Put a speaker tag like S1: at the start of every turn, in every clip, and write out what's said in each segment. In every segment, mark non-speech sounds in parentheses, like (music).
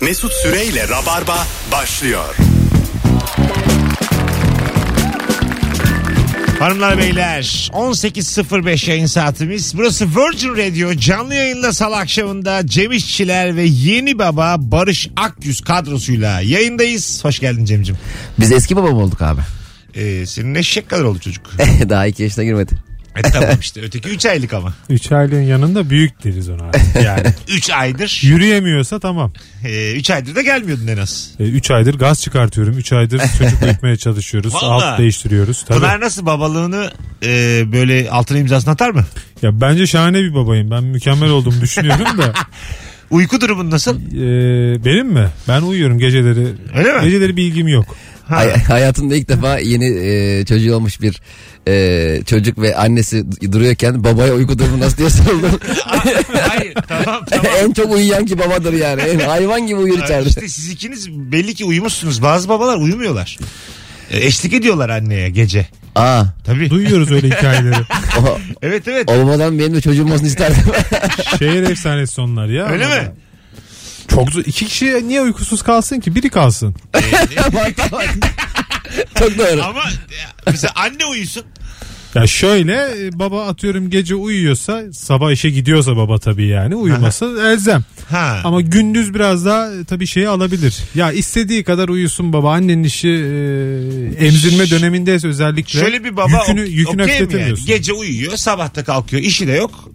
S1: Mesut Süreyle Rabarba başlıyor.
S2: Hanımlar beyler 18.05 yayın saatimiz. Burası Virgin Radio canlı yayında salı akşamında Cem İşçiler ve yeni baba Barış Akyüz kadrosuyla yayındayız. Hoş geldin Cem'cim.
S3: Biz eski babam olduk (laughs) abi.
S2: Ee, senin eşek kadar oldu çocuk.
S3: Eh, Daha iki yaşına girmedi.
S2: e tamam işte öteki 3 aylık ama.
S4: Üç aylığın yanında büyük deriz ona. (laughs) abi.
S2: Yani 3 aydır.
S4: Yürüyemiyorsa tamam.
S2: 3 aydır da gelmiyordun en az.
S4: E, Üç aydır gaz çıkartıyorum. Üç aydır
S2: (laughs)
S4: çocuk büyütmeye çalışıyoruz.
S2: Vallahi.
S4: Alt değiştiriyoruz. Tabii.
S2: Pınar nasıl babalığını e, böyle altına imzasını atar mı?
S4: Ya bence şahane bir babayım. Ben mükemmel olduğumu
S2: (laughs)
S4: düşünüyorum da.
S2: Uyku durumun nasıl?
S4: e, benim mi? Ben uyuyorum geceleri.
S2: Öyle mi?
S4: Geceleri bir ilgim yok.
S2: Ha.
S3: Hay- hayatında ilk defa yeni e, çocuğu olmuş bir e, çocuk ve annesi d- duruyorken babaya uyku durumu nasıl diye (laughs) sordum.
S2: Hayır tamam tamam.
S3: en çok uyuyan ki babadır yani. En hayvan gibi uyur içeride.
S2: İşte Ee, siz ikiniz belli ki uyumuşsunuz. Bazı babalar uyumuyorlar. E, Eşlik ediyorlar anneye gece.
S3: Aa,
S2: Tabii.
S4: Duyuyoruz
S2: (laughs)
S4: öyle hikayeleri.
S3: o-
S2: Evet evet.
S3: olmadan benim de çocuğum olsun (laughs) isterdim.
S4: Şehir efsanesi onlar ya.
S2: Öyle mi?
S4: Çok zor. İki kişi niye uykusuz kalsın ki? Biri kalsın.
S3: çok doğru.
S2: Ama e, mesela anne uyusun.
S4: Ya şöyle e, baba atıyorum gece uyuyorsa sabah işe gidiyorsa baba tabii yani uyuması elzem.
S2: Ha.
S4: Ama gündüz biraz daha e, tabii şeyi alabilir. Ya istediği kadar uyusun baba. Annenin işi e, emzirme dönemindeyse özellikle.
S2: Şöyle bir baba
S4: yükünü,
S2: ok-
S4: yükünü
S2: okey mi yani?
S4: hafifletemiyorsun.
S2: Gece uyuyor, sabah da kalkıyor, işi de yok.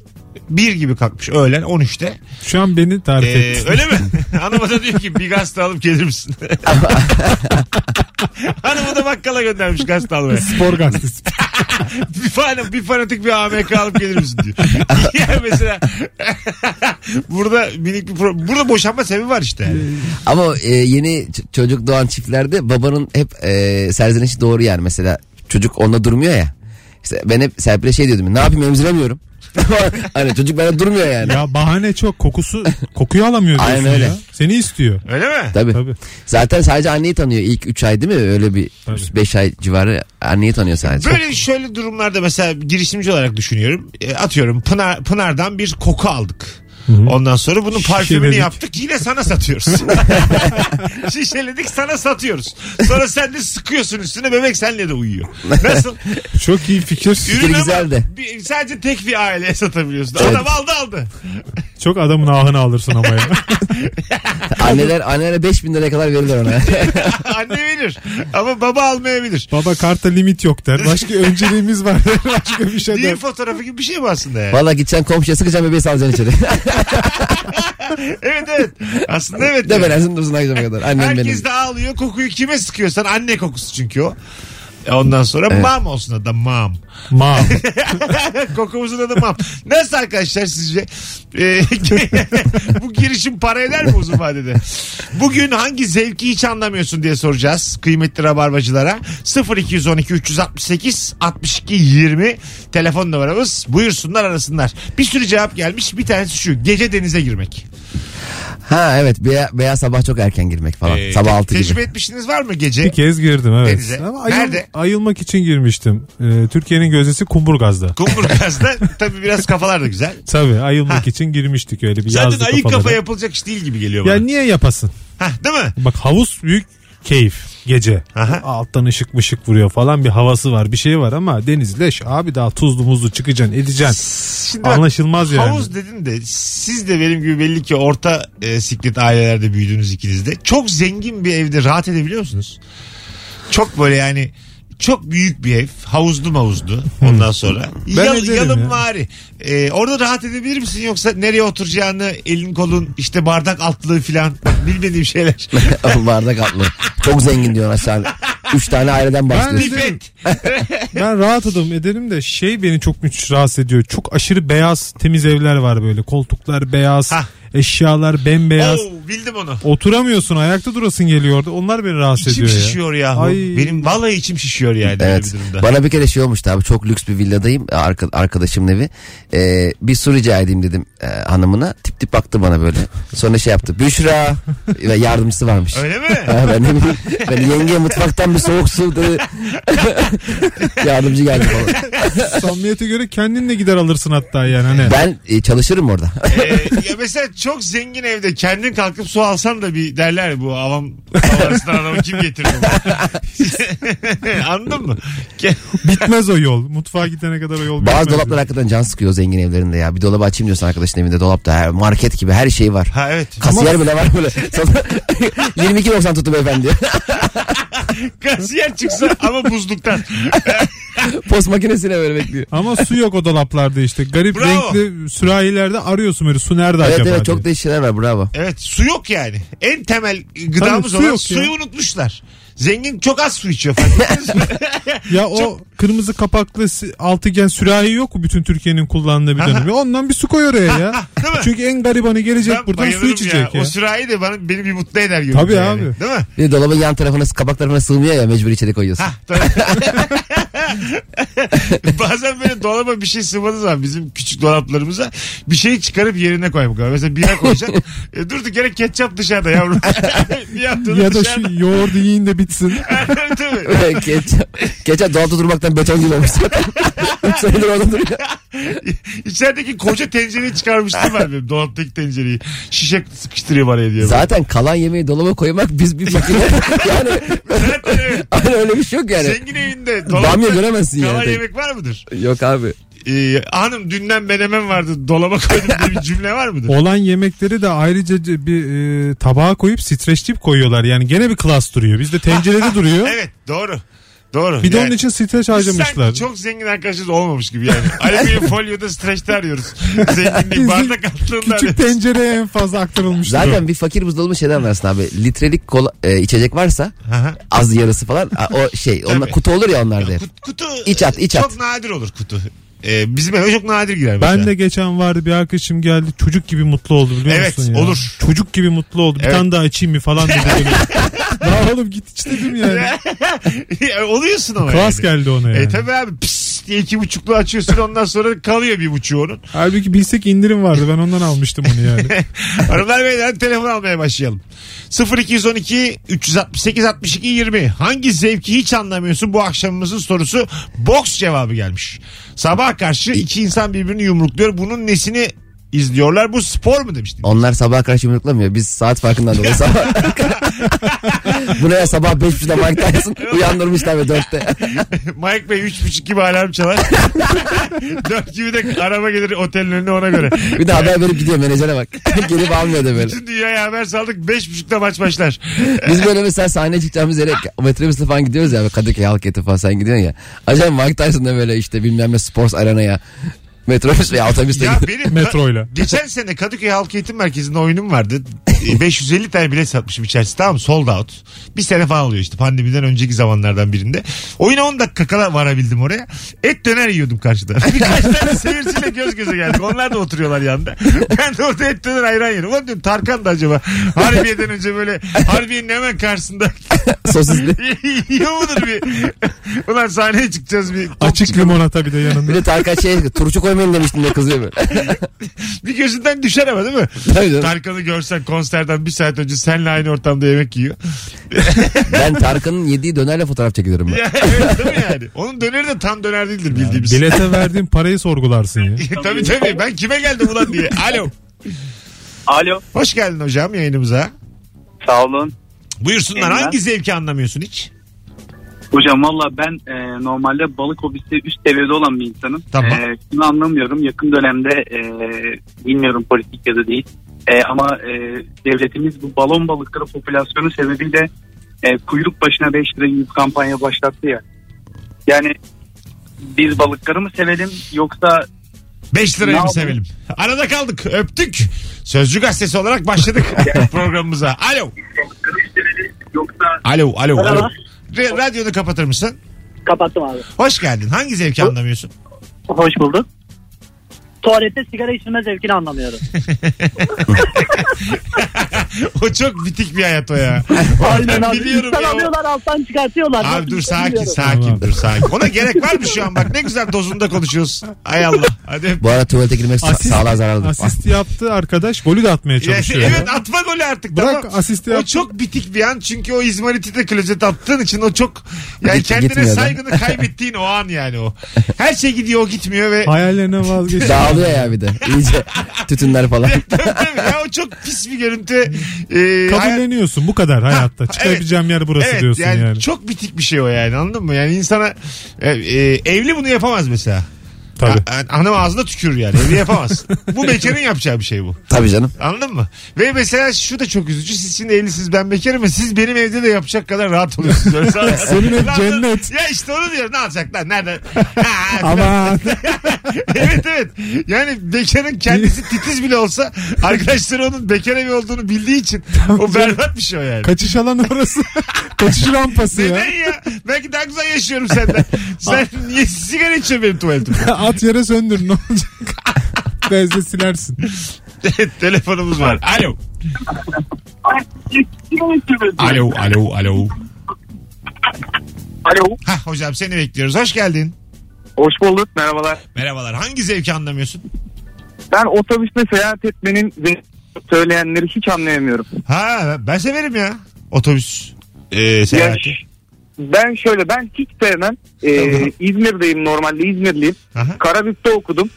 S2: Bir gibi kalkmış öğlen 13'te.
S4: Şu an beni tarif
S2: Ee,
S4: ettin.
S2: öyle mi? (laughs) Hanıma da diyor ki bir gazete alıp gelir misin? (laughs) Hanımı da bakkala göndermiş gazete almaya. (laughs)
S4: Spor gazetesi.
S2: bir, fan, bir fanatik bir AMK alıp gelir misin diyor. (laughs) yani mesela (laughs) burada minik bir pro- burada boşanma sebebi var işte.
S3: Ama e, yeni ç- çocuk doğan çiftlerde babanın hep e, serzenişi doğru yani. Mesela çocuk onda durmuyor ya. İşte ben hep Serpil'e şey diyordum. Ne yapayım emziremiyorum. (laughs) hani çocuk bende durmuyor yani.
S4: ya bahane çok. Kokusu kokuyu alamıyor diyorsun
S3: Aynen öyle.
S4: ya. Seni istiyor.
S2: Öyle mi?
S3: Tabii.
S4: Tabii.
S3: Zaten sadece anneyi tanıyor ilk 3 ay değil mi? Öyle bir
S4: Tabii.
S3: 5 ay civarı anneyi
S2: (laughs)
S3: tanıyor sadece.
S2: Böyle şöyle durumlarda mesela girişimci olarak düşünüyorum. E, atıyorum Pınar, Pınar'dan bir koku aldık. Ondan sonra bunun parfümünü
S4: Şişeledik.
S2: yaptık yine sana
S3: (laughs)
S2: satıyoruz. Şişeledik sana satıyoruz. Sonra sen de sıkıyorsun üstüne bebek senle de uyuyor.
S3: (laughs)
S2: Nasıl?
S4: Çok iyi fikir.
S2: Ürün ama
S3: güzel de.
S2: bir- sadece tek bir aileye satabiliyorsun.
S3: Evet.
S2: Adam aldı aldı.
S4: Çok adamın ahını alırsın
S2: (laughs)
S4: ama ya.
S3: Anneler annelere 5000 liraya kadar verirler ona.
S2: (laughs) Anne verir ama baba almayabilir.
S4: Baba karta limit yok
S2: (laughs)
S4: der. Başka önceliğimiz var der. (laughs) Başka bir şey
S2: Düğün
S4: der.
S2: fotoğrafı gibi bir şey mi aslında yani?
S3: Valla gideceksin komşuya sıkacaksın bebeği salacaksın içeri.
S2: evet evet. Aslında evet.
S3: de ben
S2: yani.
S3: lazım dursun akşama kadar. Annem
S2: Herkes
S3: benim.
S2: de ağlıyor. Kokuyu kime sıkıyorsan anne kokusu çünkü o. E Ondan sonra mam olsun adı mam.
S4: Ma.
S2: (laughs) Kokumuzun adı mam. Nasıl arkadaşlar sizce? E, (laughs) bu girişim para eder mi uzun vadede? Bugün hangi zevki hiç anlamıyorsun diye soracağız kıymetli rabarbacılara. 0212 368 62 20 telefon numaramız. Buyursunlar arasınlar. Bir sürü cevap gelmiş. Bir tanesi şu. Gece denize girmek.
S3: Ha evet beya, beyaz sabah çok erken girmek falan.
S2: E,
S3: sabah 6
S2: Tecrübe
S3: gibi.
S2: etmişiniz var mı gece?
S4: Bir kez girdim evet.
S2: Denize.
S4: Ama ayıl-
S2: Nerede?
S4: ayılmak için girmiştim. Ee, Türkiye'nin gözdesi Kumburgaz'da.
S2: Kumburgaz'da
S3: (laughs)
S2: tabii biraz kafalar da güzel.
S4: Tabii ayılmak için girmiştik öyle bir
S2: Zaten
S4: yazlık
S2: ayı
S4: kafalara.
S2: kafa yapılacak iş değil gibi geliyor bana.
S4: Ya niye yapasın?
S2: Hah, değil mi?
S4: Bak havuz büyük keyif gece.
S2: Aha.
S4: Alttan ışık mışık vuruyor falan bir havası var bir şey var ama deniz leş abi daha tuzlu muzlu çıkacaksın edeceksin.
S2: Şimdi bak,
S4: Anlaşılmaz yani.
S2: Havuz dedin de siz de benim gibi belli ki orta e, siklet ailelerde büyüdünüz ikiniz de. Çok zengin bir evde rahat edebiliyor musunuz? Çok böyle yani çok büyük bir ev. Havuzlu mavuzlu ondan sonra.
S4: Hmm. Ben
S2: Yal,
S4: ederim
S2: yalın
S4: ya.
S2: mari. E, orada rahat edebilir misin yoksa nereye oturacağını elin kolun işte bardak altlığı filan bilmediğim şeyler.
S3: (laughs) Bardak atlı. Çok zengin diyor aşağı. 3 tane aileden bahsediyor.
S2: Pipet.
S4: Ben rahat adam ederim de şey beni çok müthiş rahatsız ediyor. Çok aşırı beyaz temiz evler var böyle. Koltuklar beyaz,
S2: Hah.
S4: eşyalar bembeyaz.
S2: Oo, bildim onu.
S4: Oturamıyorsun ayakta durasın geliyor orada. Onlar beni rahatsız
S2: İçim
S4: ediyor ya.
S2: şişiyor ya.
S4: Ay.
S2: Benim vallahi içim şişiyor yani böyle bir
S3: Evet.
S2: durumda.
S3: Bana bir kere şey olmuştu abi çok lüks bir villadayım arka, arkadaşımın evi. Ee, bir su rica edeyim dedim e, hanımına. Tip tip baktı bana böyle. Sonra şey yaptı. Büşra ve yardımcısı varmış.
S2: Öyle mi?
S3: Ha, ben de bileyim. ben yenge mutfaktan bir soğuk su dedi. (laughs) Yardımcı geldi falan.
S4: Samimiyete göre kendin de gider alırsın hatta yani. Hani.
S3: Ben e, çalışırım orada.
S2: Ee, ya mesela çok zengin evde kendin kalkıp kalkıp su alsan da bir derler ya bu avam havasından adamı kim getirdi? bu? (laughs) Anladın mı? Ke-
S4: Bitmez o yol. Mutfağa gidene kadar o yol bitmez.
S3: Bazı dolaplar hakikaten can sıkıyor o zengin evlerinde ya. Bir dolabı açayım diyorsun arkadaşın evinde. Dolapta her market gibi her şey var.
S2: Ha evet.
S3: Kasiyer bile var böyle. Sonra (laughs) 22.90 tuttu beyefendi.
S2: Kasiyer çıksa ama buzluktan.
S3: Post makinesine böyle bekliyor.
S4: Ama su yok o dolaplarda işte. Garip
S2: Bravo.
S4: renkli sürahilerde arıyorsun böyle su nerede
S3: Evet
S4: acaba?
S3: evet
S4: diye.
S3: çok değişik şeyler var bravo.
S2: Evet su yok yani. En temel gıdamız
S4: Tabii, su
S2: olan
S4: yok
S2: suyu
S4: ya.
S2: unutmuşlar. Zengin çok az su içiyor. fark ettiniz mi?
S4: Ya o kırmızı kapaklı si- altıgen sürahi yok mu bütün Türkiye'nin kullandığı
S2: (laughs)
S4: bir dönem? Ya Ondan bir su koy oraya ya.
S2: Değil mi?
S4: Çünkü en garibanı gelecek
S2: Ben
S4: buradan su
S2: bayılırım
S4: içecek ya.
S2: O sürahi de bana, beni bir mutlu eder gibi.
S4: Tabii
S2: yani.
S4: abi.
S2: Değil mi?
S3: Bir de dolabın yan tarafına kapak tarafına sığmıyor ya mecbur içeri koyuyorsun. (laughs)
S2: Hah, tabii. (laughs) Bazen böyle dolaba bir şey sığmadığı zaman bizim küçük dolaplarımıza bir şey çıkarıp yerine koymak var. Mesela bira koyacaksın. e, durduk yere ketçap dışarıda yavrum. bir haftada
S4: ya da şu
S2: dışarıda.
S4: yoğurdu yiyin
S2: (laughs)
S4: de bitsin.
S2: Tabii, tabii.
S3: geçen, geçen dolapta durmaktan beton gibi olmuş. Üç senedir orada duruyor.
S2: İçerideki koca tencereyi çıkarmıştım ben benim dolaptaki tencereyi. Şişe sıkıştırıyor araya diye. Zaten,
S3: Zaten kalan yemeği dolaba koymak biz bir makine. (laughs) yani
S2: evet.
S3: hani öyle bir şey yok yani.
S2: Zengin evinde
S3: Bamya
S2: dolapta
S3: göremezsin
S2: kalan
S3: yani.
S2: yemek var mıdır?
S3: Yok abi.
S2: Ee, hanım dünden menemen vardı dolaba koydum diye bir cümle var mıdır?
S4: Olan yemekleri de ayrıca c- bir e, tabağa koyup streçleyip koyuyorlar. Yani gene bir klas duruyor.
S2: (laughs)
S4: Bizde tencerede duruyor.
S2: Evet doğru. Doğru.
S4: Bir de
S2: Yani
S4: onun için streç
S2: biz
S4: harcamışlar.
S2: Sanki çok zengin arkadaşımız olmamış gibi
S4: (laughs)
S2: yani. Alüminyum folyoda streçte arıyoruz. Zenginliği
S4: Bizim
S2: bardak altında
S4: Küçük
S2: arıyoruz.
S4: tencereye en fazla aktarılmıştır.
S3: Zaten bir fakir buzdolabı şeyden versin abi. Litrelik kola, e, içecek varsa
S2: Aha.
S3: az yarısı falan a, o şey onlar
S2: Tabii.
S3: kutu olur ya onlarda. hep.
S2: Kut- Kutu
S3: İç at, iç
S2: çok
S3: at.
S2: nadir olur kutu. Ee, bizim eve çok nadir girer mesela.
S4: Ben de geçen vardı bir arkadaşım geldi çocuk gibi mutlu oldu biliyor
S2: Evet,
S4: musun ya?
S2: olur.
S4: Çocuk gibi mutlu oldu. Bir
S2: Evet.
S4: tane daha içeyim mi
S2: (laughs)
S4: falan dedi. ya oğlum git iç dedim yani.
S2: (laughs) Ya, Oluyorsun ama.
S4: Klas
S2: yani.
S4: geldi ona yani.
S2: E tabi abi pis diye iki buçuklu açıyorsun ondan sonra kalıyor bir buçuğu onun.
S4: Halbuki bilsek indirim vardı ben ondan almıştım
S2: (laughs)
S4: onu yani.
S2: Hanımlar beyler telefon almaya başlayalım. 0212 368 62 20 hangi zevki hiç anlamıyorsun bu akşamımızın sorusu boks cevabı gelmiş. Sabah karşı iki insan birbirini yumrukluyor bunun nesini izliyorlar bu spor mu demiştin.
S3: Onlar sabah karşı yumruklamıyor. Biz saat farkından dolayı sabah. (laughs) Bu ne ya sabah 5.30'da Mike Tyson uyandırmışlar ve 4'te.
S2: (laughs) Mike Bey üç buçuk gibi alarm çalar. Dört gibi de araba gelir otelin önüne ona göre.
S3: Bir de haber verip gidiyor menajere bak. (laughs) Gelip almıyor da böyle.
S2: Bütün dünyaya haber saldık beş buçukta maç başlar.
S3: Biz böyle mesela sahneye çıkacağımız yere metrobüsle falan gidiyoruz ya. Kadıköy halk eti falan sen gidiyorsun ya. Acaba Mike Tyson da böyle işte bilmem ne sports arenaya. Metrobüs veya otobüsle
S2: Ya
S3: gidiyor.
S2: benim
S4: Metroyla.
S2: Geçen sene Kadıköy Halk Eğitim Merkezi'nde oyunum vardı.
S4: (laughs)
S2: E, 550 tane bilet satmışım içerisi tamam mı? sold out. Bir sene falan oluyor işte pandemiden önceki zamanlardan birinde. Oyuna 10 dakika kala varabildim oraya. Et döner yiyordum
S4: (laughs)
S2: karşıda. Birkaç tane seyirciyle göz göze geldik. Onlar da oturuyorlar yanda. Ben de orada et döner ayran yerim. Ulan diyorum Tarkan da acaba Harbiye'den önce böyle Harbiye'nin hemen karşısında (laughs)
S3: Sosisli.
S2: yiyor mudur bir? Ulan sahneye çıkacağız bir.
S4: Açık limonata bir de
S2: (laughs)
S4: yanında.
S3: Bir de Tarkan şey turşu koymayın demiştim de kızıyor böyle.
S2: Bir gözünden düşer ama değil mi?
S3: Tabii canım.
S2: Tarkan'ı görsen konserden bir saat önce senle aynı ortamda yemek (laughs) yiyor.
S3: Ben Tarkan'ın yediği dönerle fotoğraf çekiliyorum ben.
S2: Ya, evet, değil mi yani? Onun döneri de tam döner değildir bildiğimiz.
S4: Bilete verdiğin parayı
S2: (laughs)
S4: sorgularsın ya.
S2: tabii tabii ben kime geldim ulan diye. Alo.
S5: Alo.
S2: Hoş geldin hocam yayınımıza.
S5: Sağ olun.
S2: Buyursunlar
S5: Eyvallah.
S2: hangi zevki anlamıyorsun hiç?
S5: Hocam valla ben e, normalde balık hobisi üst seviyede olan bir insanım.
S2: Tamam.
S5: E, şunu anlamıyorum. Yakın dönemde e, bilmiyorum politik ya da değil. E, ama e, devletimiz bu balon balıkları popülasyonu sebebiyle e, kuyruk başına 5 lira yiyip kampanya başlattı ya. Yani biz balıkları mı sevelim yoksa
S2: 5
S5: Ne
S2: lirayı mı
S5: yapayım?
S2: sevelim? Arada kaldık öptük. Sözcü gazetesi olarak başladık programımıza. Alo.
S5: yoksa
S2: Alo alo. alo.
S6: Merhaba.
S2: Re- Radyonu kapatır mısın?
S6: Kapattım abi.
S2: Hoş geldin. Hangi zevki anlamıyorsun?
S6: Hoş bulduk. Tuvalette sigara içilme
S2: (laughs)
S6: zevkini anlamıyorum.
S2: o çok bitik bir hayat o ya. (laughs)
S6: Aynen abi.
S2: Biliyorum
S6: İçten
S2: ya.
S6: alıyorlar alttan çıkartıyorlar.
S2: Abi
S6: Ben
S2: dur
S6: hiç
S2: sakin
S6: bilmiyorum.
S2: sakin
S4: Tamam.
S2: dur sakin. Ona gerek var mı şu an bak ne güzel dozunda konuşuyorsun. Ay Allah. Hadi. öp-
S3: Bu arada tuvalete girmek sa- sağlığa zararlı.
S4: asist yaptı arkadaş golü
S2: (laughs)
S4: de atmaya çalışıyor.
S2: evet atma golü artık
S4: Bırak
S2: tamam.
S4: asisti
S2: O
S4: yap.
S2: çok bitik bir an çünkü o izmariti de klozete attığın için o çok yani
S3: Git-
S2: kendine
S3: gitmiyor da.
S2: saygını kaybettiğin o an yani o. Her şey gidiyor o gitmiyor ve
S4: Hayallerine vazgeçti.
S3: Dağılıyor Kavruluyor ya bir de. İyice tütünler falan.
S2: (laughs) Tabii ya o çok pis bir görüntü. Ee, hayat-
S4: Kabulleniyorsun bu kadar hayatta. Çıkabileceğim yer burası
S2: Evet
S4: diyorsun
S2: yani,
S4: yani.
S2: çok bitik bir şey o yani anladın mı? Yani insana e, e, evli bunu yapamaz mesela.
S4: Tabii.
S2: Ha- ha- hanım ağzına tükürür yani evli
S4: (laughs)
S2: yapamaz. bu bekarın yapacağı bir şey bu.
S3: Tabii canım.
S2: Anladın mı? Ve mesela şu da çok üzücü. Siz şimdi evlisiniz ben bekarım ve siz benim evde de yapacak kadar rahat oluyorsunuz.
S4: (laughs)
S2: Öyle sana-
S4: Senin ev
S2: Lan-
S4: cennet.
S2: Ya işte onu diyorum. Ne yapacak lan?
S4: (laughs)
S2: Nereden? Ha,
S4: Ama
S2: (laughs) evet evet. Yani bekarın kendisi titiz bile olsa arkadaşları onun bekar evi olduğunu bildiği
S4: (laughs)
S2: için o berbat bir şey o yani.
S4: kaçış alanı
S2: (laughs)
S4: orası. kaçış rampası ya.
S2: Neden ya? Belki daha güzel yaşıyorum
S4: (laughs)
S2: senden. Sen niye sigara içiyorsun benim tuvaletimde? (laughs)
S4: At yere söndür ne olacak? Bezle silersin.
S2: Telefonumuz var. Alo. Alo, alo, alo.
S5: Alo.
S2: Hah hocam seni bekliyoruz. Hoş geldin.
S5: Hoş bulduk. Merhabalar.
S2: Merhabalar. Hangi zevki anlamıyorsun?
S5: Ben otobüste seyahat etmenin zevkini söyleyenleri hiç anlayamıyorum.
S2: Ha ben severim ya. Otobüs e, seyahati.
S5: Ya, ben şöyle ben hiç sevmem. Ee,
S2: Tamam.
S5: İzmir'deyim normalde İzmirliyim.
S2: Aha.
S5: Karabük'te okudum.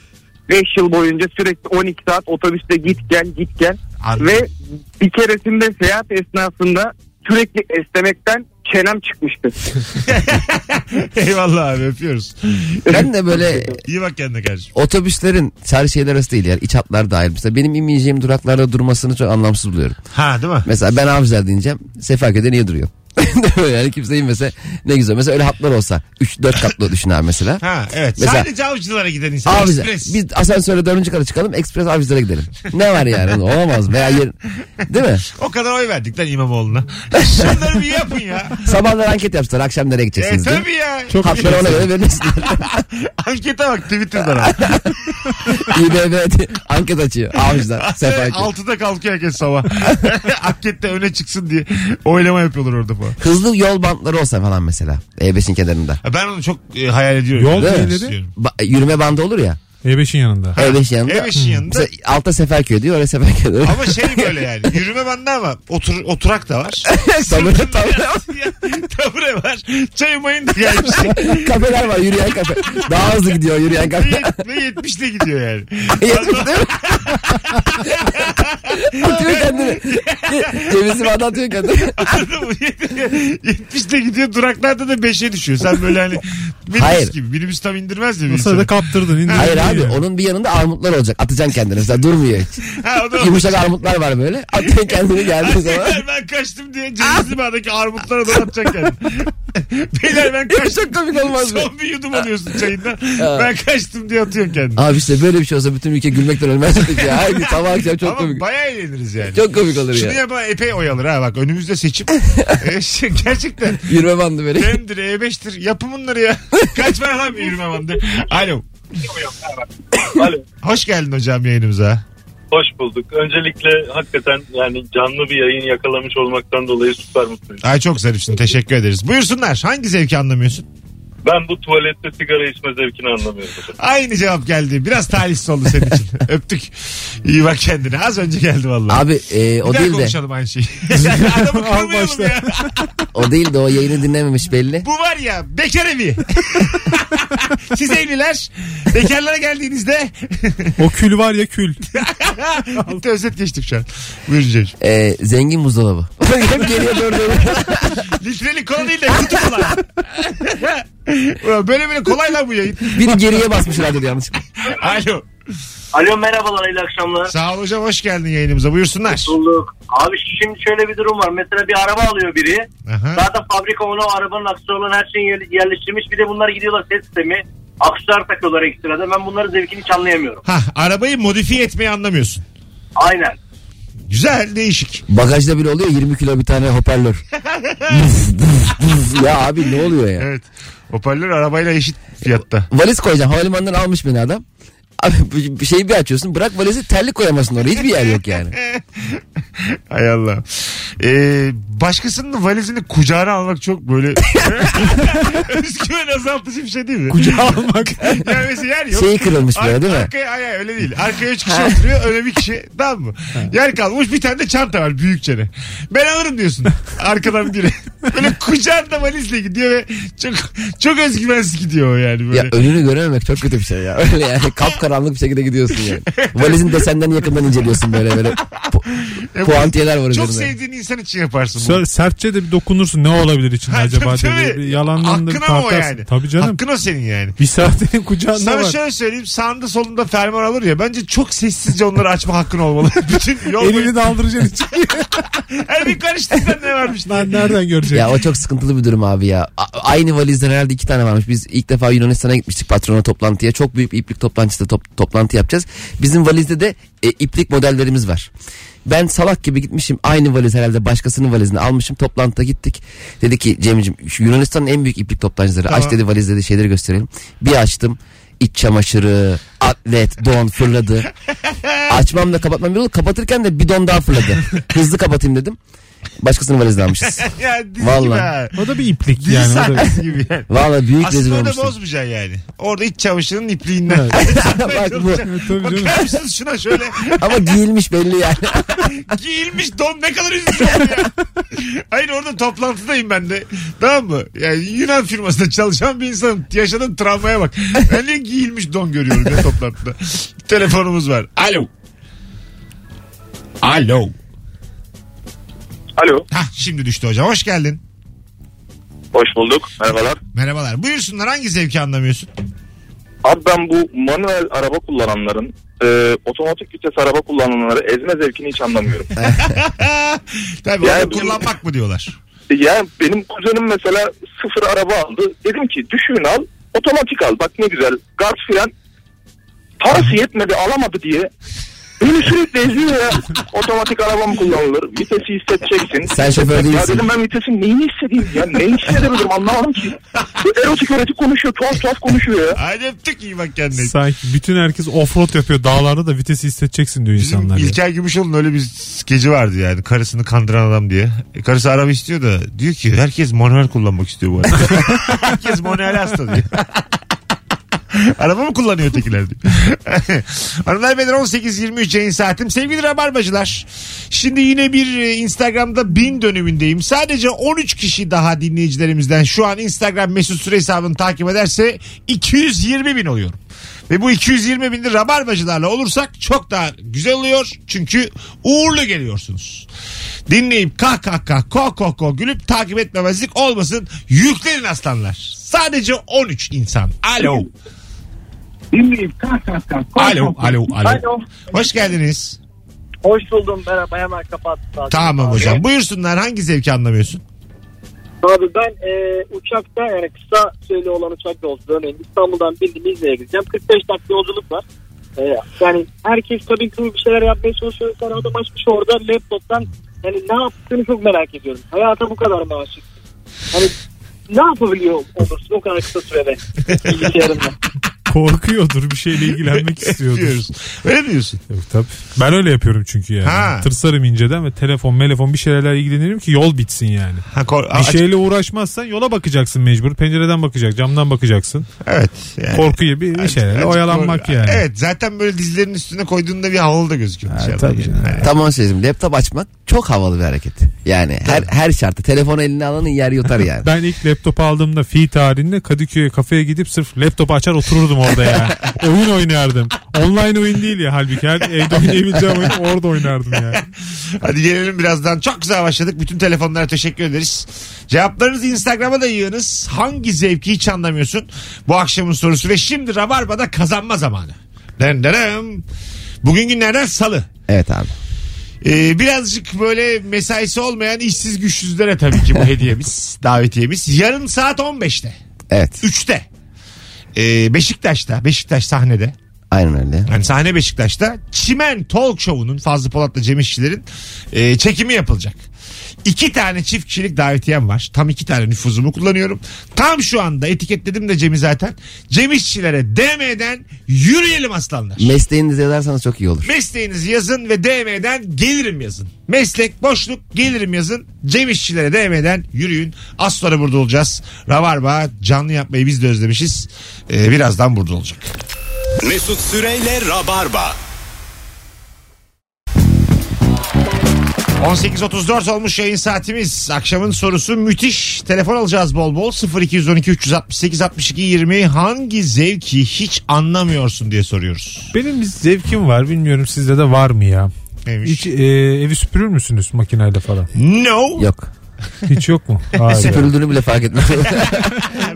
S5: 5 yıl boyunca sürekli 12 saat otobüste git gel git gel.
S2: Anladım. (laughs)
S5: Ve bir keresinde seyahat esnasında sürekli esnemekten
S2: (laughs)
S5: çenem çıkmıştı.
S2: Eyvallah abi öpüyoruz.
S3: Ben de böyle
S2: İyi bak kendine kardeşim.
S3: otobüslerin sadece şeyler arası değil yani iç hatlar dahil. Mesela benim inmeyeceğim duraklarda durmasını çok anlamsız buluyorum.
S2: Ha değil mi?
S3: Mesela ben Avcılar deyince Sefaköy'de niye duruyor? (laughs) yani kimse inmese ne güzel. Mesela öyle hatlar olsa 3-4 katlı düşün abi mesela.
S2: Ha evet.
S3: Mesela-
S2: Sadece avcılara giden insan.
S3: Avcı,
S2: Ekspres.
S3: biz asansöre dördüncü kata çıkalım ekspres avcılara gidelim. Ne var yani olamaz veya yer, değil mi?
S2: O kadar oy verdik lan İmamoğlu'na. (laughs) Şunları bir yapın ya.
S3: Sabahlar anket yapsalar akşam nereye
S2: E
S3: gideceksiniz diye.
S2: tabii ya.
S4: Çok
S3: Hatları ona
S2: (laughs)
S3: göre verilmişsinler.
S2: Ankete bak Twitter'dan abi.
S3: İBB diye anket açıyor avcılar Sefaköy.
S2: Altıda kalkıyor herkes sabah. (laughs) Ankette öne çıksın diye oylama yapıyorlar orada falan.
S3: Hızlı yol bantları olsa falan mesela E5'in kenarında.
S2: Ha, Ben onu çok e, hayal ediyorum.
S4: Yol
S2: Ben
S4: neleri?
S2: istiyorum.
S3: Ba- yürüme bandı olur ya
S4: E5'in yanında.
S3: E5 yanında.
S2: Ev işin yanında.
S3: (laughs) Mesela altta Seferköy diyor oraya Seferköy diyor.
S2: Ama şey
S3: (laughs)
S2: böyle yani yürüme bandı ama otur, oturak da var.
S3: Sabır tabure.
S2: Tabure var. Çay mayın da gelmiş.
S3: Kafeler var yürüyen kafe. Daha hızlı gidiyor yürüyen
S2: Ve
S3: kafe.
S2: yet- Ve 70 gidiyor yani.
S3: Yetmiş değil mi? atıyor kendini. (laughs) Cevizi bana atıyor kendini.
S2: Anladın mı? 70 gidiyor duraklarda da 5'e düşüyor. Sen böyle hani minibüs
S3: Hayır.
S2: gibi. Minibüs tam indirmez ya.
S4: O
S2: bir
S4: sırada
S2: insanı.
S4: kaptırdın. indirdin
S3: Hayır abi
S4: yani.
S3: onun bir yanında armutlar olacak. Atacaksın kendini mesela durmuyor hiç.
S2: Ha, o da
S3: Yumuşak armutlar var böyle. Atıyorsun kendini geldiği zaman.
S2: (laughs) Beyler ben kaçtım diye Cevizli Bağ'daki armutlara donatacak yani. (laughs) Beyler ben kaçtım.
S3: Çok komik olmaz mı?
S2: Son bir yudum alıyorsun çayından. ben kaçtım diye atıyorsun kendini.
S3: Abi işte böyle bir şey olsa bütün ülke gülmekten ölmezdik ya. Haydi sabah akşam çok
S2: Ama
S3: komik.
S2: bayağı eğleniriz yani.
S3: Çok komik olur
S2: Şunu
S3: ya.
S2: yapan epey oyalır ha bak önümüzde
S3: (laughs)
S2: seçim. E, şey, Gerçekten
S3: Yürüme bandı böyle.
S2: Dem'dir E5'tir E yapın bunları
S3: (laughs)
S2: ya. Kaç var lan bir yürüme bandı. Alo.
S7: Alo.
S2: Hoş geldin hocam yayınımıza.
S7: Hoş bulduk. Öncelikle hakikaten yani canlı bir yayın yakalamış olmaktan dolayı süper mutluyum.
S2: Ay çok zarifsin teşekkür ederiz. Buyursunlar hangi zevki anlamıyorsun?
S7: Ben bu tuvalette sigara içme zevkini anlamıyorum.
S2: Aynı cevap geldi. Biraz talihsiz oldu senin
S3: (laughs)
S2: için. Öptük. İyi bak kendine. Az önce geldi vallahi.
S3: Abi e, o
S2: bir
S3: değil
S2: daha
S3: de
S2: konuşalım aynı
S3: (laughs)
S2: şeyi. Adamı
S4: Al
S2: kırmayalım
S4: başta.
S2: ya.
S3: o değil de o yayını dinlememiş belli.
S2: Bu var ya bekar
S3: (laughs)
S2: evi. Siz evliler bekarlara
S3: (laughs)
S2: geldiğinizde (laughs)
S4: O kül var ya kül.
S2: Bitti, özet geçtik şu an. Buyurun Cemciğim.
S3: E, zengin buzdolabı. (laughs) Hep geriye doğru dönüyor.
S2: Litrelik kol değil de kutu kola. Ulan böyle böyle kolay lan bu yayın.
S3: Biri geriye basmış radyoda yanlış.
S2: Alo.
S6: Alo merhabalar hayırlı akşamlar.
S2: Sağ ol hocam hoş geldin yayınımıza. Buyursunlar.
S6: Bulduk. Abi şimdi şöyle bir durum var. Mesela bir araba alıyor biri.
S2: Aha.
S6: Zaten fabrika ona o arabanın aksiyonlarını her şeyi yer- yerleştirmiş. Bir de bunlar gidiyorlar ses sistemi. Aksesuar takıyorlar ekstradan. Ben bunların zevkini hiç anlayamıyorum.
S2: Ha, arabayı modifiye etmeyi anlamıyorsun.
S6: Aynen.
S2: Güzel değişik.
S3: Bagajda bile oluyor 20 kilo bir tane hoparlör. ya abi ne oluyor ya?
S2: Evet. Hoparlör arabayla eşit fiyatta.
S3: Valiz koyacağım. Havalimanından almış beni adam. Abi bu- bir şeyi bir açıyorsun. Bırak valizi terlik koyamazsın oraya. Hiçbir yer yok yani.
S2: Hay Allah. Ee, başkasının valizini kucağına almak çok böyle (laughs) özgüven azaltıcı bir şey değil mi?
S4: (laughs) Kucağa almak.
S2: (laughs) Yani mesela yer yok.
S3: Şeyi Şey kırılmış böyle değil mi?
S2: Arkaya, ay, ay, öyle değil. Arkaya üç kişi oturuyor öyle bir kişi. Tamam mı? Yer kalmış bir tane de çanta var büyük çene. Ben alırım diyorsun. Arkadan
S3: (laughs)
S2: biri. Böyle kucağında valizle gidiyor ve çok çok özgüvensiz gidiyor o yani böyle.
S3: Ya önünü görememek çok kötü bir şey ya. Öyle yani kapkaranlık bir şekilde gidiyorsun yani. Valizin desenden yakından inceliyorsun böyle
S4: (laughs)
S3: böyle. Pu-
S2: E, bu-
S3: puantiyeler var
S2: çok
S3: üzerinde.
S2: sevdiğin insan için yaparsın bunu.
S4: Sö- sertçe de bir dokunursun ne olabilir içinde
S2: Ha,
S4: acaba
S2: tabii,
S4: diye.
S2: tabii.
S4: Bir Yalandan da bir
S2: Hakkın ama o
S4: tartarsın.
S2: yani.
S4: Tabii canım.
S2: Hakkın o senin yani.
S4: Bir saatinin kucağında
S2: Sana şey
S4: var.
S2: şöyle söyleyeyim sağında solunda fermuar alır ya bence çok sessizce onları açma hakkın olmalı. (laughs) Bütün yol boyu
S4: Elini daldıracaksın
S2: (laughs)
S4: içine.
S2: her bir karıştığında ne varmış
S4: (laughs)
S2: lan.
S4: Lan nereden görecek?
S3: Ya o çok sıkıntılı bir durum abi ya. A- aynı valizden herhalde iki tane varmış. Biz ilk defa Yunanistan'a gitmiştik patrona toplantıya. Çok büyük bir iplik toplantısı top- toplantı yapacağız. Bizim valizde de e, iplik modellerimiz var. Ben salak gibi gitmişim. Aynı valiz herhalde başkasının valizini almışım. Toplantıda gittik. Dedi ki Cem'ciğim şu Yunanistan'ın en büyük iplik toplantıları.
S2: Tamam.
S3: Aç dedi valiz dedi şeyleri gösterelim. Bir açtım. iç çamaşırı, atlet, don fırladı. Açmam da kapatmam bir oldu. Kapatırken de bir don daha fırladı. Hızlı kapatayım dedim. Başkasının valizini almışız.
S2: Ya dizi gibi
S3: Vallahi.
S2: ha.
S4: O da bir iplik
S2: Dizi
S4: yani. O da
S2: sahnesi gibi yani.
S3: Valla büyük rezil
S2: Aslında orada
S3: olmuştum.
S2: bozmayacaksın yani. Orada iç çamaşırının ipliğinden. (laughs)
S3: Bak bu.
S4: Evet, tabii canım.
S2: Bakar mısınız şuna şöyle (laughs)
S3: Ama giyilmiş belli yani.
S2: giyilmiş don ne kadar üzücü oldu ya. (laughs) Hayır orada toplantıdayım ben de. Tamam mı? Yani Yunan firmasında çalışan bir insanım. Yaşadığım travmaya bak. Ben niye giyilmiş don görüyorum ya toplantıda. (laughs) Telefonumuz var. Alo. Alo.
S7: Alo.
S2: Hah şimdi düştü hocam. Hoş geldin.
S7: Hoş bulduk. Merhabalar.
S2: Merhabalar. Buyursunlar hangi zevki anlamıyorsun?
S7: Abi ben bu manuel araba kullananların otomatik vites araba kullananları ezme zevkini hiç anlamıyorum.
S2: (laughs) Tabii
S7: Yani
S2: onu
S7: bu-
S2: kullanmak mı diyorlar?
S7: Yani benim kuzenim mesela sıfır araba aldı. Dedim ki düşüğünü al otomatik al bak ne güzel gaz fren. Parası yetmedi alamadı diye. Beni sürekli eziyor ya. Otomatik arabam kullanılır. Vitesi hissedeceksin.
S3: Sen şoför
S7: Ya
S3: değilsin.
S7: dedim ben vitesin neyini hissedeyim ya neyi hissedebilirim anlamadım ki. Bu erotik erotik konuşuyor tuhaf tuhaf konuşuyor ya.
S2: Hadi öptük iyi bak kendine.
S4: Sanki bütün herkes offroad yapıyor dağlarda da vitesi hissedeceksin diyor
S2: Bizim
S4: insanlar. ya.
S2: İlker Gümüşoğlu'nun öyle bir skeci vardı yani. Karısını kandıran adam diye. E, karısı araba istiyor da diyor ki herkes manuel kullanmak istiyor bu arada. (laughs) herkes manuel hasta diyor. (laughs) Araba mı kullanıyor tekiler diyor. (laughs) Hanımlar beyler 18.23 yayın saatim. Sevgili Rabarbacılar. Şimdi yine bir e, Instagram'da bin dönümündeyim. Sadece 13 kişi daha dinleyicilerimizden şu an Instagram mesut süre hesabını takip ederse 220 bin oluyorum. Ve bu 220 binde rabarbacılarla olursak çok daha güzel oluyor. Çünkü uğurlu geliyorsunuz. Dinleyip kah kah kah ko ko ko gülüp takip etmemezlik olmasın. Yüklerin aslanlar. Sadece 13 insan. Alo. Alo, alo, alo. Hoş geldiniz.
S6: Hoş buldum. Merhaba hemen kapattım.
S2: Tamam hocam. Buyursunlar hangi zevki anlamıyorsun?
S6: Abi ben e, uçakta yani kısa süreli olan uçak yolculuğu örneğin İstanbul'dan bildim İzmir'e gideceğim. 45 dakika yolculuk var. E, yani herkes kabin crew bir şeyler yapmaya çalışıyor. Sen adam açmış orada laptoptan yani ne yaptığını çok merak ediyorum. Hayata bu kadar mı aşık? Hani ne yapabiliyor olursun o kadar kısa (laughs) sürede bilgisayarında?
S4: Korkuyordur bir şeyle ilgilenmek
S2: (laughs)
S4: istiyordur.
S2: Diyoruz. Öyle mi diyorsun?
S4: Yok, tabii. Ben öyle yapıyorum çünkü yani.
S2: Ha.
S4: Tırsarım inceden ve telefon melefon bir şeylerle ilgilenirim ki yol bitsin yani.
S2: Ha, kor-
S4: Bir şey
S2: aç-
S4: şeyle uğraşmazsan yola bakacaksın mecbur. Pencereden bakacak, camdan bakacaksın.
S2: Evet. yani.
S4: Korku gibi bir şeylerle
S2: Azıcık
S4: oyalanmak
S2: kor-
S4: yani.
S2: Evet zaten böyle dizlerinin üstüne koyduğunda bir havalı da gözüküyor.
S4: Ha,
S2: dışarıdan
S4: tabii
S2: yani.
S4: canım.
S2: (laughs) Evet.
S3: Tam onu söyleyeyim. Laptop açmak çok havalı bir hareket. Yani her her şartta. Telefonu eline alanın yer yutar yani.
S4: Ben ilk laptop aldığımda fi tarihinde Kadıköy'e kafeye gidip sırf laptopu açar otururdum
S2: (laughs)
S4: orada ya. oyun oynardım. Online oyun değil ya halbuki. Her evde oynayabileceğim oyun orada oynardım ya.
S2: Hadi gelelim birazdan. Çok güzel başladık. Bütün telefonlara teşekkür ederiz. Cevaplarınızı Instagram'a da yığınız. Hangi zevki hiç anlamıyorsun? Bu akşamın sorusu ve şimdi Rabarba'da kazanma zamanı. Den denem. Bugün günlerden salı.
S3: Evet abi.
S2: Ee, birazcık böyle mesaisi olmayan işsiz güçsüzlere tabii ki bu hediyemiz, davetiyemiz. Yarın saat 15'te,
S3: Evet.
S2: 3'te. Ee, Beşiktaş'ta, Beşiktaş sahnede.
S3: Aynen öyle.
S2: Yani sahne Beşiktaş'ta Çimen Talk Show'unun Fazlı Polat'la Cem İşçilerin e, çekimi yapılacak. İki tane çift kişilik davetiyem var. Tam iki tane nüfuzumu kullanıyorum. Tam şu anda etiketledim de Cem'i zaten. Cem işçilere DM'den yürüyelim aslanlar.
S3: Mesleğinizi yazarsanız çok iyi olur.
S2: Mesleğinizi yazın ve DM'den gelirim yazın. Meslek, boşluk, gelirim yazın. Cem İşçilere DM'den yürüyün. Az sonra burada olacağız. Rabarba canlı yapmayı biz de özlemişiz. Ee, birazdan burada olacak.
S1: Mesut Süreyle Rabarba.
S2: 18.34 olmuş yayın saatimiz. Akşamın sorusu müthiş. Telefon alacağız bol bol. 0212 368 62 20 hangi zevki hiç anlamıyorsun diye soruyoruz.
S4: Benim bir zevkim var bilmiyorum sizde de var mı ya?
S2: Neymiş?
S4: Hiç e, evi süpürür müsünüz makineyle falan?
S2: No.
S3: Yok.
S4: Hiç
S2: (laughs)
S4: yok mu? Hayır.
S3: Süpürüldüğünü bile fark etmez.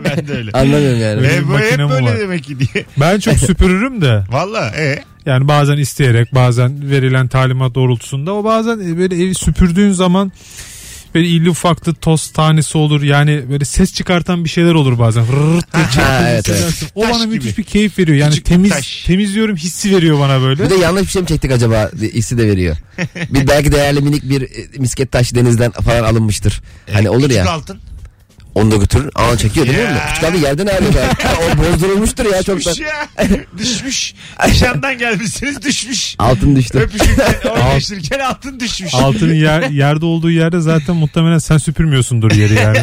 S2: ben de
S4: (laughs)
S2: öyle.
S3: Anlamıyorum yani.
S2: Ve bu hep
S4: makinem
S2: böyle
S4: var.
S2: demek ki diye. (laughs)
S4: Ben çok süpürürüm de
S2: Valla e.
S4: yani bazen isteyerek bazen verilen talimat doğrultusunda o bazen böyle evi süpürdüğün zaman böyle illi ufaklı toz tanesi olur yani böyle ses çıkartan bir şeyler olur bazen. Rırrt diye
S3: Ha, evet, evet.
S4: çarpıyorsun. O bana
S2: Taş
S4: müthiş
S2: gibi.
S4: bir keyif veriyor yani
S2: Küçük bir
S4: temiz
S2: taş.
S4: temizliyorum hissi veriyor bana böyle.
S3: Bir de yanlış bir şey mi çektik acaba diye hissi de veriyor. Bir belki değerli minik bir e, misket taşı denizden falan alınmıştır. Hani olur
S2: E, Küçük
S3: ya.
S2: altın.
S3: Onu da götürür. Aa çekiyor değil mi?
S2: Ya. şey-
S3: Küçük abi yerden ayrılıyor.
S2: (laughs)
S3: Ha, o bozdurulmuştur ya çok da.
S2: Düşmüş ya. (laughs) Düşmüş. Nişandan gelmişsiniz düşmüş.
S3: Altın düştü.
S2: Öpüşürken, oynaşırken altın düşmüş.
S4: (laughs) Altının yer, yerde olduğu yerde zaten muhtemelen sen süpürmüyorsundur
S2: (laughs)
S4: yeri yani.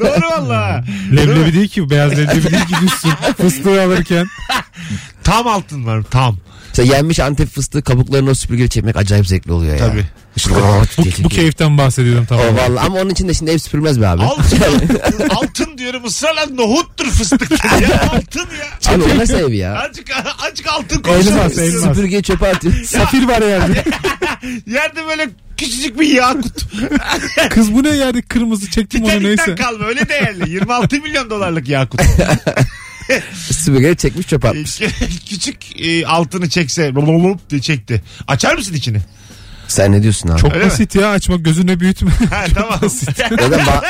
S2: Doğru valla. Değil mi?
S4: Leblebi değil ki beyaz leblebi değil ki düşsün. Fıstığı alırken.
S2: Tam altın var tam.
S3: İşte yenmiş antep fıstığı kabuklarını o süpürgeyle çekmek acayip zevkli oluyor ya.
S2: Tabii.
S3: İşte
S4: Bu,
S3: bu,
S4: bu keyiften bahsediyordum
S3: O
S4: tamam.
S3: vallahi ama onun için de şimdi ev süpürmez be abi.
S2: Altın, altın diyorum ısrarla nohuttur fıstıktır ya altın ya.
S3: Abi o nasıl ev ya?
S2: Azıcık, azıcık altın
S4: Elmas,
S2: konuşalım.
S4: elmas.
S3: Süpürgeyi çöpe atıyor.
S4: (laughs) Safir var yerde.
S2: Yerde böyle küçücük bir yağ
S4: (laughs)
S2: kutu.
S4: Kız bu ne yani kırmızı çektim onu neyse.
S2: Titanik'ten kalma öyle değerli. 26 milyon dolarlık Ee, yağ
S4: (laughs)
S2: kutu.
S3: Süpürgeyi çekmiş çöpe atmış.
S2: (laughs) küçük e, altını çekse (laughs) lololop diye çekti. Açar mısın içini?
S3: Sen ne diyorsun abi?
S4: Çok
S2: Öyle
S4: basit ya açma gözüne büyütme. (laughs)
S2: Ha tamam.
S3: Neden ba-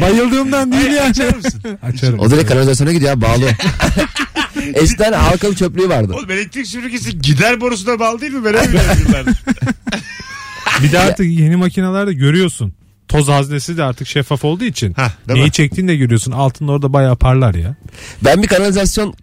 S4: Bayıldığımdan değil yani.
S2: (laughs) Açar
S4: (laughs)
S2: mısın?
S4: Açarım.
S3: o direkt kanalizasyona gidiyor abi,
S4: (laughs)
S3: bağlı. Eskiden halkalı çöplüğü vardı.
S2: Oğlum elektrik süpürgesi gider borusuna bağlı değil mi? Ben öyle biliyorum
S4: (laughs)
S2: yıllardır.
S4: Bir de artık yeni makinelerde görüyorsun. Toz haznesi de artık şeffaf olduğu için.
S2: Ha, değil mi?
S4: Neyi çektiğini de görüyorsun. Altın orada bayağı parlar ya.
S3: Ben bir kanalizasyon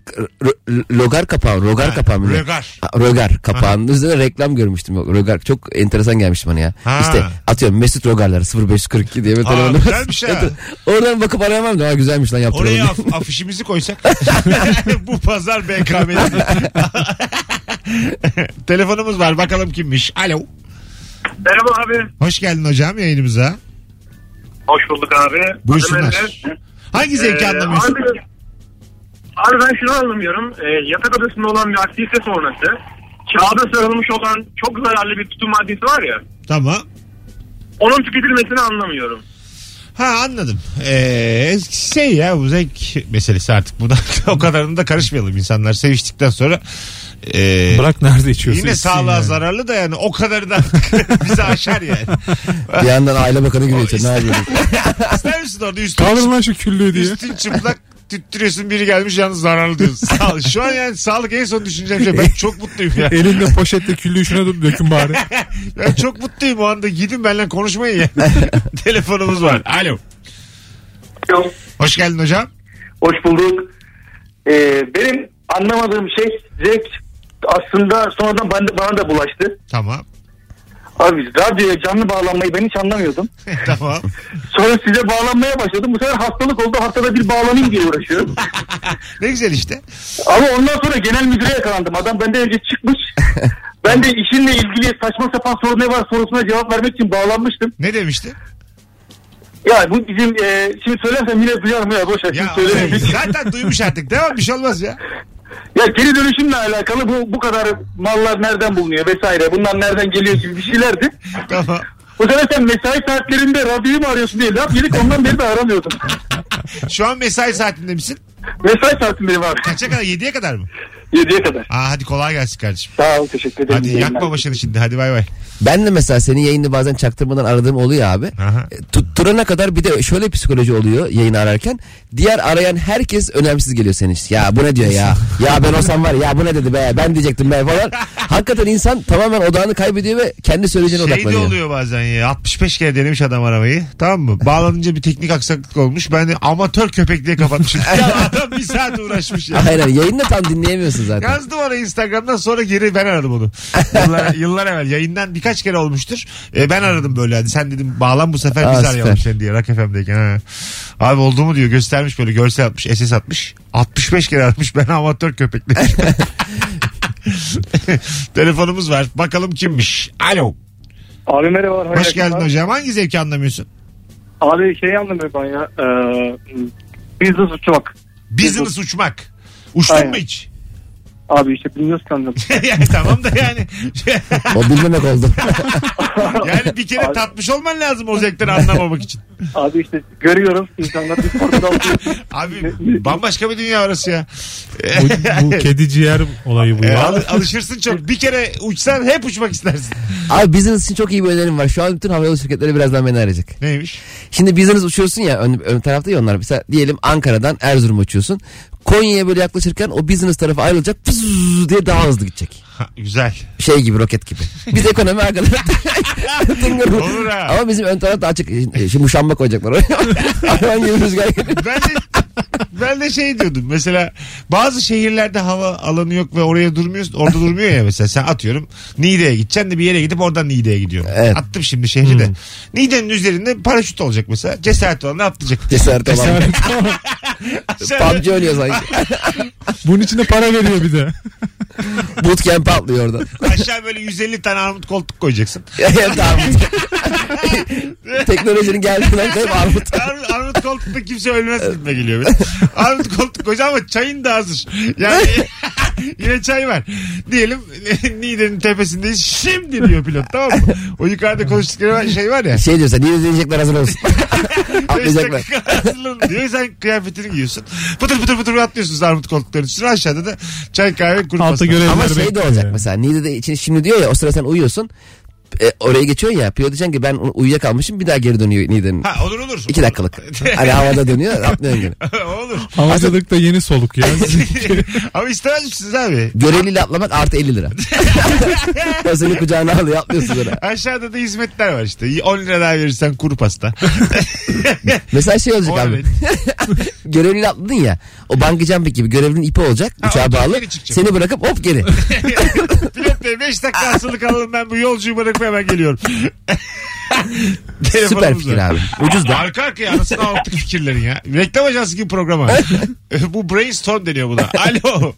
S3: ro- logar kapağı, rogar kapağı mı?
S2: Rögar.
S3: Ha, Rogar kapağının üzerine reklam görmüştüm. Rogar çok enteresan gelmişti bana ya.
S2: Ha.
S3: İşte atıyorum Mesut Rogarları 0542 diye bir telefonu.
S2: güzelmiş ha.
S3: (laughs) Oradan bakıp arayamam da "Aa, güzelmiş lan yaptılar.
S2: Oraya
S3: onu."
S2: af- afişimizi koysak. (laughs) Bu pazar BKM'de. (laughs) Telefonumuz var bakalım kimmiş. Alo.
S5: Merhaba abi.
S2: Hoş geldin hocam yayınımıza.
S5: Hoş bulduk abi.
S2: Buyursunlar.
S5: Adım Emre.
S2: Hangi zevki
S5: Ee,
S2: anlamıyorsun?
S5: Abi, abi ben şunu anlamıyorum. Ee, yatak odasında olan bir aktivite sonrası kağıda sarılmış olan çok zararlı bir tutum maddesi var ya.
S2: Tamam.
S5: Onun tüketilmesini anlamıyorum.
S2: Ha anladım. Ee, şey ya bu zevk meselesi artık. Buna (laughs) o kadarını da karışmayalım. İnsanlar seviştikten sonra ee,
S4: Bırak nerede içiyorsun.
S2: yine
S4: içsin
S2: sağlığa
S4: yani.
S2: zararlı da yani o kadarı da (laughs) bizi aşar yani.
S3: (laughs) Bir yandan aile
S2: (laughs)
S3: bakanı gibi geçiyor. Ne yapıyorsun?
S2: İster misin orada üstüne
S4: Kaldır lan şu küllüğü diye.
S2: Üstün çıplak tüttürüyorsun biri gelmiş yalnız zararlı diyorsun. Sağ ol. Şu an yani sağlık en son düşüneceğim şey. Ben çok mutluyum ya.
S4: Elinde poşetle küllüğü şuna dö- dökün bari.
S2: Ben çok mutluyum o anda. Gidin benimle konuşmayın ya. Telefonumuz var. Alo. Hoş geldin hocam.
S7: Hoş bulduk. Ee, benim anlamadığım şey zevk aslında sonradan bana, bana da bulaştı.
S2: Tamam. (laughs)
S7: Abi radyoya canlı bağlanmayı ben hiç anlamıyordum.
S2: tamam.
S7: Sonra size bağlanmaya başladım. Bu sefer hastalık oldu. Haftada bir bağlanayım diye uğraşıyorum.
S2: Ne güzel işte.
S7: Ama ondan sonra genel müdüre yakalandım. Adam benden önce çıkmış. Ben de işinle ilgili saçma sapan soru ne var sorusuna cevap vermek için bağlanmıştım.
S2: Ne demişti?
S7: Ya bu bizim e, şimdi söylersem yine duyarım ya boş ver şimdi
S2: Ya
S7: (laughs) söylemeyeyim.
S2: zaten duymuş artık. Devam bir şey olmaz ya.
S7: Ya geri dönüşümle alakalı bu bu kadar mallar nereden bulunuyor vesaire bunlar nereden geliyor gibi bir şeylerdi.
S2: Tamam.
S7: O zaman sen mesai saatlerinde radyoyu mu arıyorsun diye laf yedik ondan beri
S2: (laughs)
S7: de aramıyordum.
S2: Şu an mesai saatinde misin?
S7: Mesai saatim benim abi.
S2: Kaça kadar? 7'ye kadar mı?
S7: 7'ye kadar.
S2: Aa, hadi kolay gelsin kardeşim.
S7: Sağ ol teşekkür ederim.
S2: Hadi
S7: İyi
S2: yakma
S7: yayınlar.
S2: başını şimdi hadi bay bay.
S3: Ben de mesela senin yayını bazen çaktırmadan aradığım oluyor abi.
S2: Aha.
S3: E, Tutturana kadar bir de şöyle psikoloji oluyor yayını ararken. Diğer arayan herkes önemsiz geliyor senin için. Ya bu ne
S2: (laughs)
S3: diyor ya? Ya ben olsam var ya bu ne dedi be? Ben diyecektim be falan. Hakikaten insan tamamen odağını kaybediyor ve kendi söyleyeceğine
S2: Şey de
S3: odaklanıyor.
S2: oluyor bazen ya 65 kere denemiş adam arabayı tamam mı? Bağlanınca bir teknik aksaklık olmuş. Ben de amatör köpek diye
S3: (laughs)
S2: kapatmışım. ya adam bir saat uğraşmış ya.
S3: Aynen yayını da tam dinleyemiyorsun zaten.
S2: Yazdı bana Instagram'dan sonra geri ben aradım onu. Yıllar, yıllar evvel yayından birkaç kere olmuştur. E, ben aradım böyle hadi sen dedim bağlan bu sefer
S3: Aa,
S2: biz
S3: süper.
S2: arayalım seni diye Rock FM'deyken. Ha. Abi oldu mu diyor göstermiş böyle görsel atmış SS atmış. 65 kere atmış ben amatör köpek demiş.
S3: (laughs)
S2: Telefonumuz var bakalım kimmiş. Alo.
S8: Abi merhabalar. hayırlı
S2: Hoş geldin
S8: akşamlar.
S2: hocam hangi zevki anlamıyorsun?
S8: Abi şey anlamıyorum ben ya. E, business uçmak.
S2: Business uçmak. Uçtun
S8: Aynen.
S2: mu hiç? (laughs)
S8: Abi işte bilmiyorsun anladım.
S2: yani tamam da yani (laughs)
S3: O bilmemek oldu. (laughs)
S2: yani bir kere
S8: Abi-
S2: tatmış olman lazım o zevkleri anlamamak için.
S8: Abi işte görüyoruz insanlar bir
S9: (laughs)
S8: korkuda oturuyor.
S2: Abi bambaşka bir dünya orası ya.
S4: Bu, bu
S2: (laughs)
S4: kedi ciğer olayı bu
S2: E,
S4: ya.
S2: al- alışırsın çok. Bir kere uçsan hep uçmak istersin.
S3: Abi business için çok iyi bir önerim var. Şu an bütün havayolu şirketleri birazdan beni arayacak.
S2: Neymiş?
S3: Şimdi business uçuyorsun ya ön, ön tarafta ya onlar. Mesela diyelim Ankara'dan Erzurum uçuyorsun. Konya'ya böyle yaklaşırken o business tarafı ayrılacak pızz diye daha hızlı gidecek.
S2: Ha, güzel.
S3: Şey gibi roket gibi. Biz ekonomi arkadan tıngır.
S2: Olur ha.
S3: Ama bizim ön tarafta açık. e, Şimdi, şimdi muşamba koyacaklar oraya. (laughs) Hayvan gibi rüzgar geliyor.
S2: Ben de, ben de şey diyordum. Mesela bazı şehirlerde hava alanı yok ve oraya durmuyorsun. Orada durmuyor ya mesela. Sen atıyorum Niğde'ye gideceksin de bir yere gidip oradan Niğde'ye gidiyorum.
S3: Evet.
S2: Attım şimdi şehri de. Niğde'nin üzerinde paraşüt olacak mesela. Cesaret olan atlayacak.
S3: Cesaret olan.
S2: Aşağıda-
S3: PUBG oynuyor sanki.
S4: Bunun için de para veriyor bir de.
S3: Bootcamp atlıyor orada. (laughs)
S2: Aşağı böyle 150 tane armut koltuk koyacaksın.
S3: tamam. Teknolojinin geldiği nokta hep armut.
S2: Armut, armut koltukta kimse ölmez gitme geliyor. benim. Armut koltuk koyacağım ama çayın da hazır. Yani (laughs) yine çay var. Diyelim (laughs) Niğde'nin tepesindeyiz. Şimdi diyor pilot tamam mı? O yukarıda konuştukları şey var ya.
S3: Şey diyor sen niye diyecekler hazır olsun.
S2: Beş
S3: Atlayacaklar.
S2: dakika hazırlanın diyor. Sen kıyafetini giyiyorsun. Pıtır pıtır pıtır atlıyorsunuz armut koltukların üstüne. Aşağıda da çay kahve kuru
S4: Altta
S2: pasta.
S4: görevleri
S3: Ama şey de
S4: bekliyor
S3: olacak
S4: yani.
S3: mesela Niğde'de için şimdi diyor ya o sıra sen uyuyorsun. E, oraya geçiyorsun ya pilot diyeceksin ki ben uyuyakalmışım bir daha geri dönüyor Niğde'nin.
S2: Ha olur olur.
S3: İki dakikalık. hani havada dönüyor atlıyorsun geri.
S2: (laughs) olur.
S4: Havacılık da yeni soluk ya.
S2: Ama istemez misiniz abi?
S3: Göreliyle atlamak artı
S2: (laughs)
S3: 50 lira. o seni kucağına alıyor atlıyorsun sonra.
S2: Aşağıda da hizmetler var işte. 10 lira daha verirsen kuru pasta.
S3: Mesela şey olacak
S2: Orada-
S3: abi. (laughs) Görevliyle atladın ya. O banka jumping gibi görevlinin ipi olacak.
S2: Ha,
S3: uçağa
S2: oradan
S3: bağlı.
S2: geri çıkacak.
S3: Seni bırakıp hop geri.
S2: Pilot bey 5 dakika asılı kalalım ben bu yolcuyu bırakıp hemen geliyorum.
S3: Süper
S2: (laughs) Telefonumuz
S3: fikir
S2: var.
S3: abi. Ucuz da.
S2: Arka arkaya
S7: (laughs)
S2: anasını altı fikirlerin ya. Reklam ajansı gibi programa. bu brainstorm deniyor buna. Alo.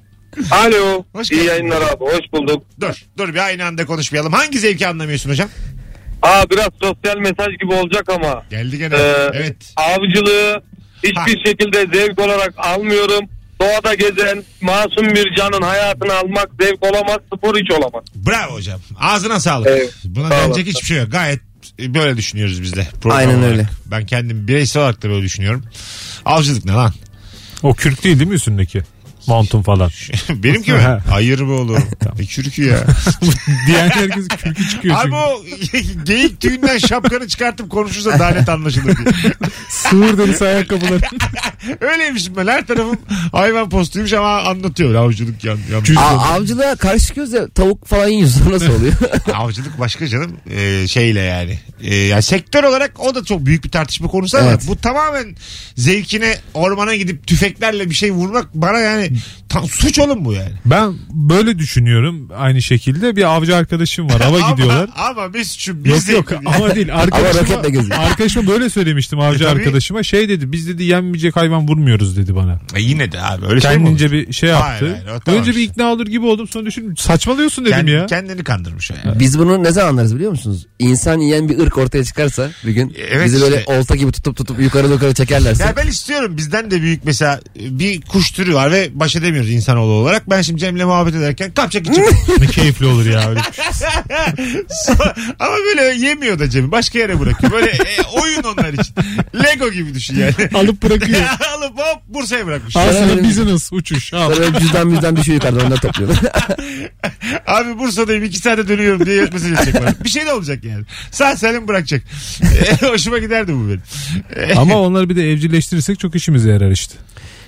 S7: Alo.
S2: Hoş
S7: İyi
S2: geldin.
S7: yayınlar abi. Hoş bulduk.
S2: Dur dur bir aynı anda konuşmayalım. Hangi zevki anlamıyorsun hocam?
S7: Aa biraz sosyal mesaj gibi olacak ama.
S2: Geldi gene.
S7: Ee,
S2: evet.
S7: Avcılığı hiçbir
S2: Ha.
S7: şekilde zevk olarak almıyorum. Doğada gezen masum bir canın hayatını almak zevk olamaz, spor hiç olamaz.
S2: Bravo hocam. Ağzına sağlık.
S7: Evet.
S2: Buna
S7: Sağ
S2: denecek
S7: olun.
S2: hiçbir şey yok. Gayet böyle düşünüyoruz biz de. program
S3: Aynen
S2: olarak.
S3: öyle.
S2: Ben kendim bireysel olarak da böyle düşünüyorum. Avcılık ne lan? (laughs)
S4: o kürk değil değil mi üstündeki? Montun falan.
S2: Benimki mi?
S3: (laughs)
S4: Ha.
S2: Hayır be oğlum. E, çürükü ya.
S4: Diğer herkes kürkü çıkıyor
S2: Abi
S4: çünkü.
S2: o (laughs) geyik tüyünden şapkanı çıkartıp konuşursa daha net anlaşılır
S4: (laughs)
S2: diye.
S4: Sığır derisi ayakkabıları.
S2: Öyleymişim ben her tarafım hayvan postuymuş ama anlatıyor avcılık yan, yan-
S3: A- avcılığa karşı çıkıyoruz ya tavuk falan yiyorsun (laughs) nasıl oluyor?
S2: avcılık başka canım Ee, şeyle yani. Ee, yani sektör olarak o da çok büyük bir tartışma konusu ama
S3: Evet.
S2: bu tamamen zevkine ormana gidip tüfeklerle bir şey vurmak bana yani tam suç oğlum bu yani.
S4: Ben böyle düşünüyorum aynı şekilde. Bir avcı arkadaşım var. Ava
S2: (laughs) ama,
S4: gidiyorlar.
S2: Ama Mesut'cum biz
S4: Yok yok
S2: zevkli- (laughs)
S4: ama değil.
S3: Ama raketle
S4: Arkadaşıma,
S3: geziyor.
S4: arkadaşıma böyle söylemiştim avcı
S2: E, tabii.
S4: arkadaşıma. Şey dedi biz dedi yenmeyecek hayvan vurmuyoruz dedi bana.
S2: E yine de abi öyle şey mi olur?
S4: Kendince bir şey yaptı.
S2: Hayır, hayır, o tamam
S4: Önce bir
S2: işte.
S4: ikna olur gibi oldum sonra düşündüm. Saçmalıyorsun dedim
S2: Kend-
S4: ya.
S2: Kendini kandırmış o yani.
S3: Biz bunu ne zaman anlarız biliyor musunuz? İnsan yiyen bir ırk ortaya çıkarsa bir gün
S2: E, Evet
S3: bizi böyle
S2: işte.
S3: olta gibi tutup tutup yukarı yukarı çekerlerse.
S2: Ya ben istiyorum bizden de büyük mesela e, bir kuş türü var ve baş edemiyoruz insanoğlu olarak. Ben şimdi Cem'le muhabbet ederken kapça gidecek.
S4: (laughs) ne keyifli olur
S2: (laughs)
S4: ya. Öyle.
S2: Ama böyle yemiyor da Cem'i başka
S4: (laughs)
S2: yere bırakıyor. Böyle e, oyun onlar için. Lego gibi düşün yani.
S4: (laughs) Alıp bırakıyor.
S2: (laughs) Alıp hop Bursa'ya bırakmış.
S4: Al
S3: Sana
S4: sana
S3: benim-
S4: business uçuş al.
S3: Sonra böyle cüzdan müzdan düşüyor yukarıda onları topluyorum.
S2: (laughs) Abi Bursa'dayım iki saate dönüyorum diye mesaj edecek bana. Bir şey de olacak yani. Sağ salim bırakacak. (laughs) E, Hoşuma giderdi bu benim.
S4: Ama onları bir de evcilleştirirsek çok işimize yarar işte.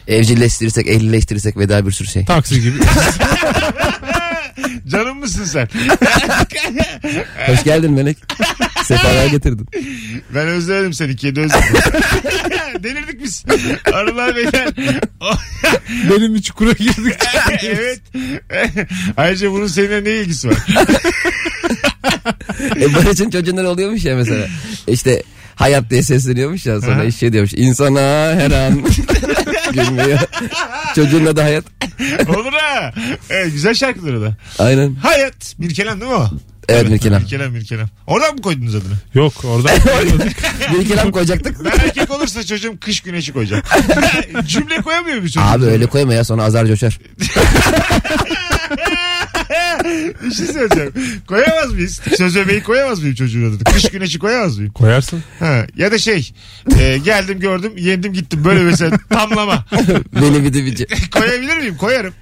S3: Evcilleştirirsek, ehlileştirirsek ve daha bir sürü şey.
S2: (laughs)
S4: Taksi gibi.
S2: Canım mısın sen?
S3: Hoş geldin
S2: (laughs)
S3: Melek. Sefalar getirdin.
S2: Ben özledim seni. Kedi özledim. (laughs) Delirdik biz. Arılar
S3: (laughs)
S2: beyler.
S4: Benim bir çukura girdik.
S2: (laughs) evet. Ayrıca bunun seninle ne ilgisi var?
S3: E, Barış'ın çocuğundan oluyormuş ya mesela. İşte hayat diye sesleniyormuş ya sonra
S2: Aha.
S3: iş şey diyormuş. İnsana her
S2: (laughs)
S3: an gülmüyor. Çocuğun adı hayat.
S2: Olur ha. Evet, güzel şarkıları da.
S3: Aynen.
S2: Hayat. Bir kelam değil mi o?
S3: Evet Mirkelam.
S2: Mirkelam Mirkelam. Oradan mı koydunuz adını?
S4: Yok orada.
S3: Mirkelam koyacaktık.
S2: Ben erkek olursa çocuğum kış güneşi koyacak. Cümle koyamıyor bir çocuk.
S3: Abi öyle koyma ya sonra azar coşar.
S2: (laughs) Bir şey söyleyeceğim. Koyamaz mıyız? Söz öbeği koyamaz mıyım çocuğun adını? Kış güneşi koyamaz mıyım?
S4: Koyarsın.
S2: Ha. Ya da şey. e, geldim gördüm yendim gittim. Böyle mesela tamlama.
S3: Beni bir de bir ce-
S2: Koyabilir miyim? Koyarım.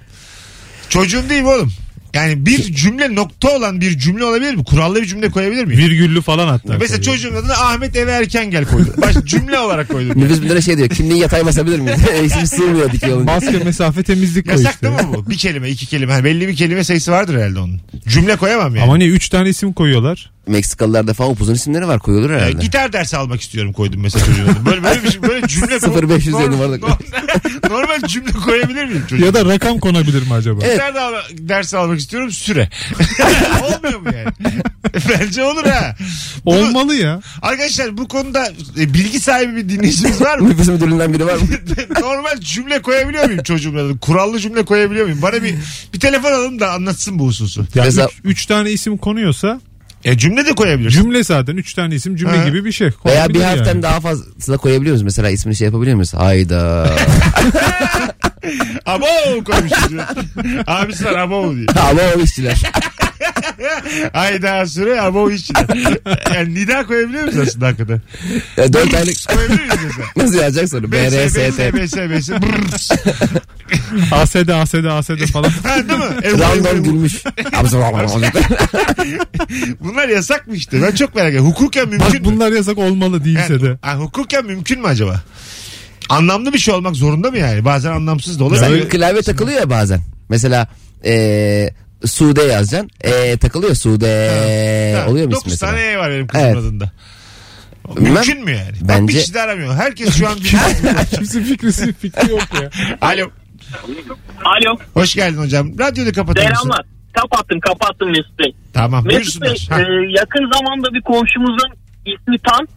S2: Çocuğum değil mi oğlum? Yani bir cümle nokta olan bir cümle olabilir mi? Kurallı bir cümle koyabilir miyim?
S4: Virgüllü falan hatta.
S2: Mesela çocuğun adını Ahmet eve erken gel koydum.
S4: (laughs)
S2: Baş cümle olarak koydum.
S3: Nüfus müdüre şey diyor. Kimliği yatay basabilir miyiz? (laughs) İsim sığmıyor dikiyor olunca.
S4: Maske mesafe temizlik koy
S2: Yasak
S4: işte.
S2: değil mi bu? Bir kelime, iki kelime. Ha, belli bir kelime sayısı vardır herhalde onun. Cümle koyamam yani.
S4: Ama niye 3 tane isim koyuyorlar?
S3: Meksikalılarda falan upuzun isimleri var koyulur
S2: Ya,
S3: herhalde.
S2: gitar dersi almak istiyorum koydum mesela çocuğun adını. Böyle, böyle bir şey, böyle cümle
S3: 0500 diye numara da koy.
S2: normal, (laughs) normal cümle koyabilir miyim çocuğum?
S4: Ya da rakam konabilir mi acaba?
S3: Evet.
S2: Gitar da al- dersi almak istiyorum süre. (laughs) Olmuyor mu yani? (laughs) Bence olur ha. Bunu-
S4: Olmalı ya.
S2: Arkadaşlar bu konuda e, bilgi sahibi bir dinleyicimiz var
S4: (laughs)
S2: mı?
S3: (laughs) Nüfus müdürlüğünden biri var
S2: (laughs)
S3: mı?
S2: Normal cümle koyabiliyor muyum çocuğumla? adını? Kurallı cümle koyabiliyor muyum? Bana bir bir telefon alalım da anlatsın bu hususu.
S4: Ya
S3: Mesela-
S4: 3 tane isim konuyorsa
S2: E cümle de koyabilirsin.
S4: cümle zaten 3 tane isim cümle
S2: Ha.
S4: gibi bir şey.
S3: Veya bir
S4: Konabilir
S3: harften
S4: yani.
S3: daha fazla koyabiliyor muyuz? Mesela ismini şey yapabiliyor
S2: (laughs)
S3: muyuz? Hayda.
S2: Abo koymuşuz.
S4: (laughs)
S2: diyor. Abisi var abo diyor.
S3: Ama o işçiler.
S2: Ayda süre abo hiç. Yani nida koyabiliyor muyuz aslında hakikaten?
S3: Ya E, Dört aylık
S2: Koyabiliyor muyuz
S4: (laughs)
S2: mesela?
S3: (laughs) nasıl yazacak sonra?
S2: BS,
S3: BRST.
S2: BS, BS, BS. Brrrs.
S4: ASD, ASD, ASD
S2: (laughs)
S4: falan.
S2: Ha, değil mi? E, Ev-
S3: Random
S2: ev-
S3: gülmüş.
S2: (laughs) Bunlar yasak mı işte? Ben çok merak ediyorum. Hukuken mümkün
S4: Bak
S2: mü?
S4: bunlar yasak olmalı değilse de.
S2: Yani, ha, hukuken mümkün mü acaba? Anlamlı bir şey olmak zorunda mı yani? Bazen anlamsız da olabilir.
S3: Sen klavye takılıyor ya bazen. Mesela eee Sude yazacaksın. Eee takılıyor Sude.
S2: Ha,
S3: Oluyor mu ismi
S2: 9 tane
S3: mesela?
S2: E var benim kızımın
S3: Evet.
S2: adında.
S3: Bilmem.
S2: Mümkün mü yani? Bak bir
S3: Bence-
S2: kişi de aramıyor. Herkes şu an bir...
S3: (laughs)
S4: Kimse fikrisi fikri yok
S2: (laughs)
S4: ya.
S2: Alo.
S6: Alo.
S2: Hoş geldin hocam. Radyoda kapatır mısın?
S6: Selamlar. Kapattım kapattım Mesut Bey.
S2: Tamam
S6: Mesut Bey
S2: buyursunlar. Ha.
S6: e, yakın zamanda bir komşumuzun ismi Tan.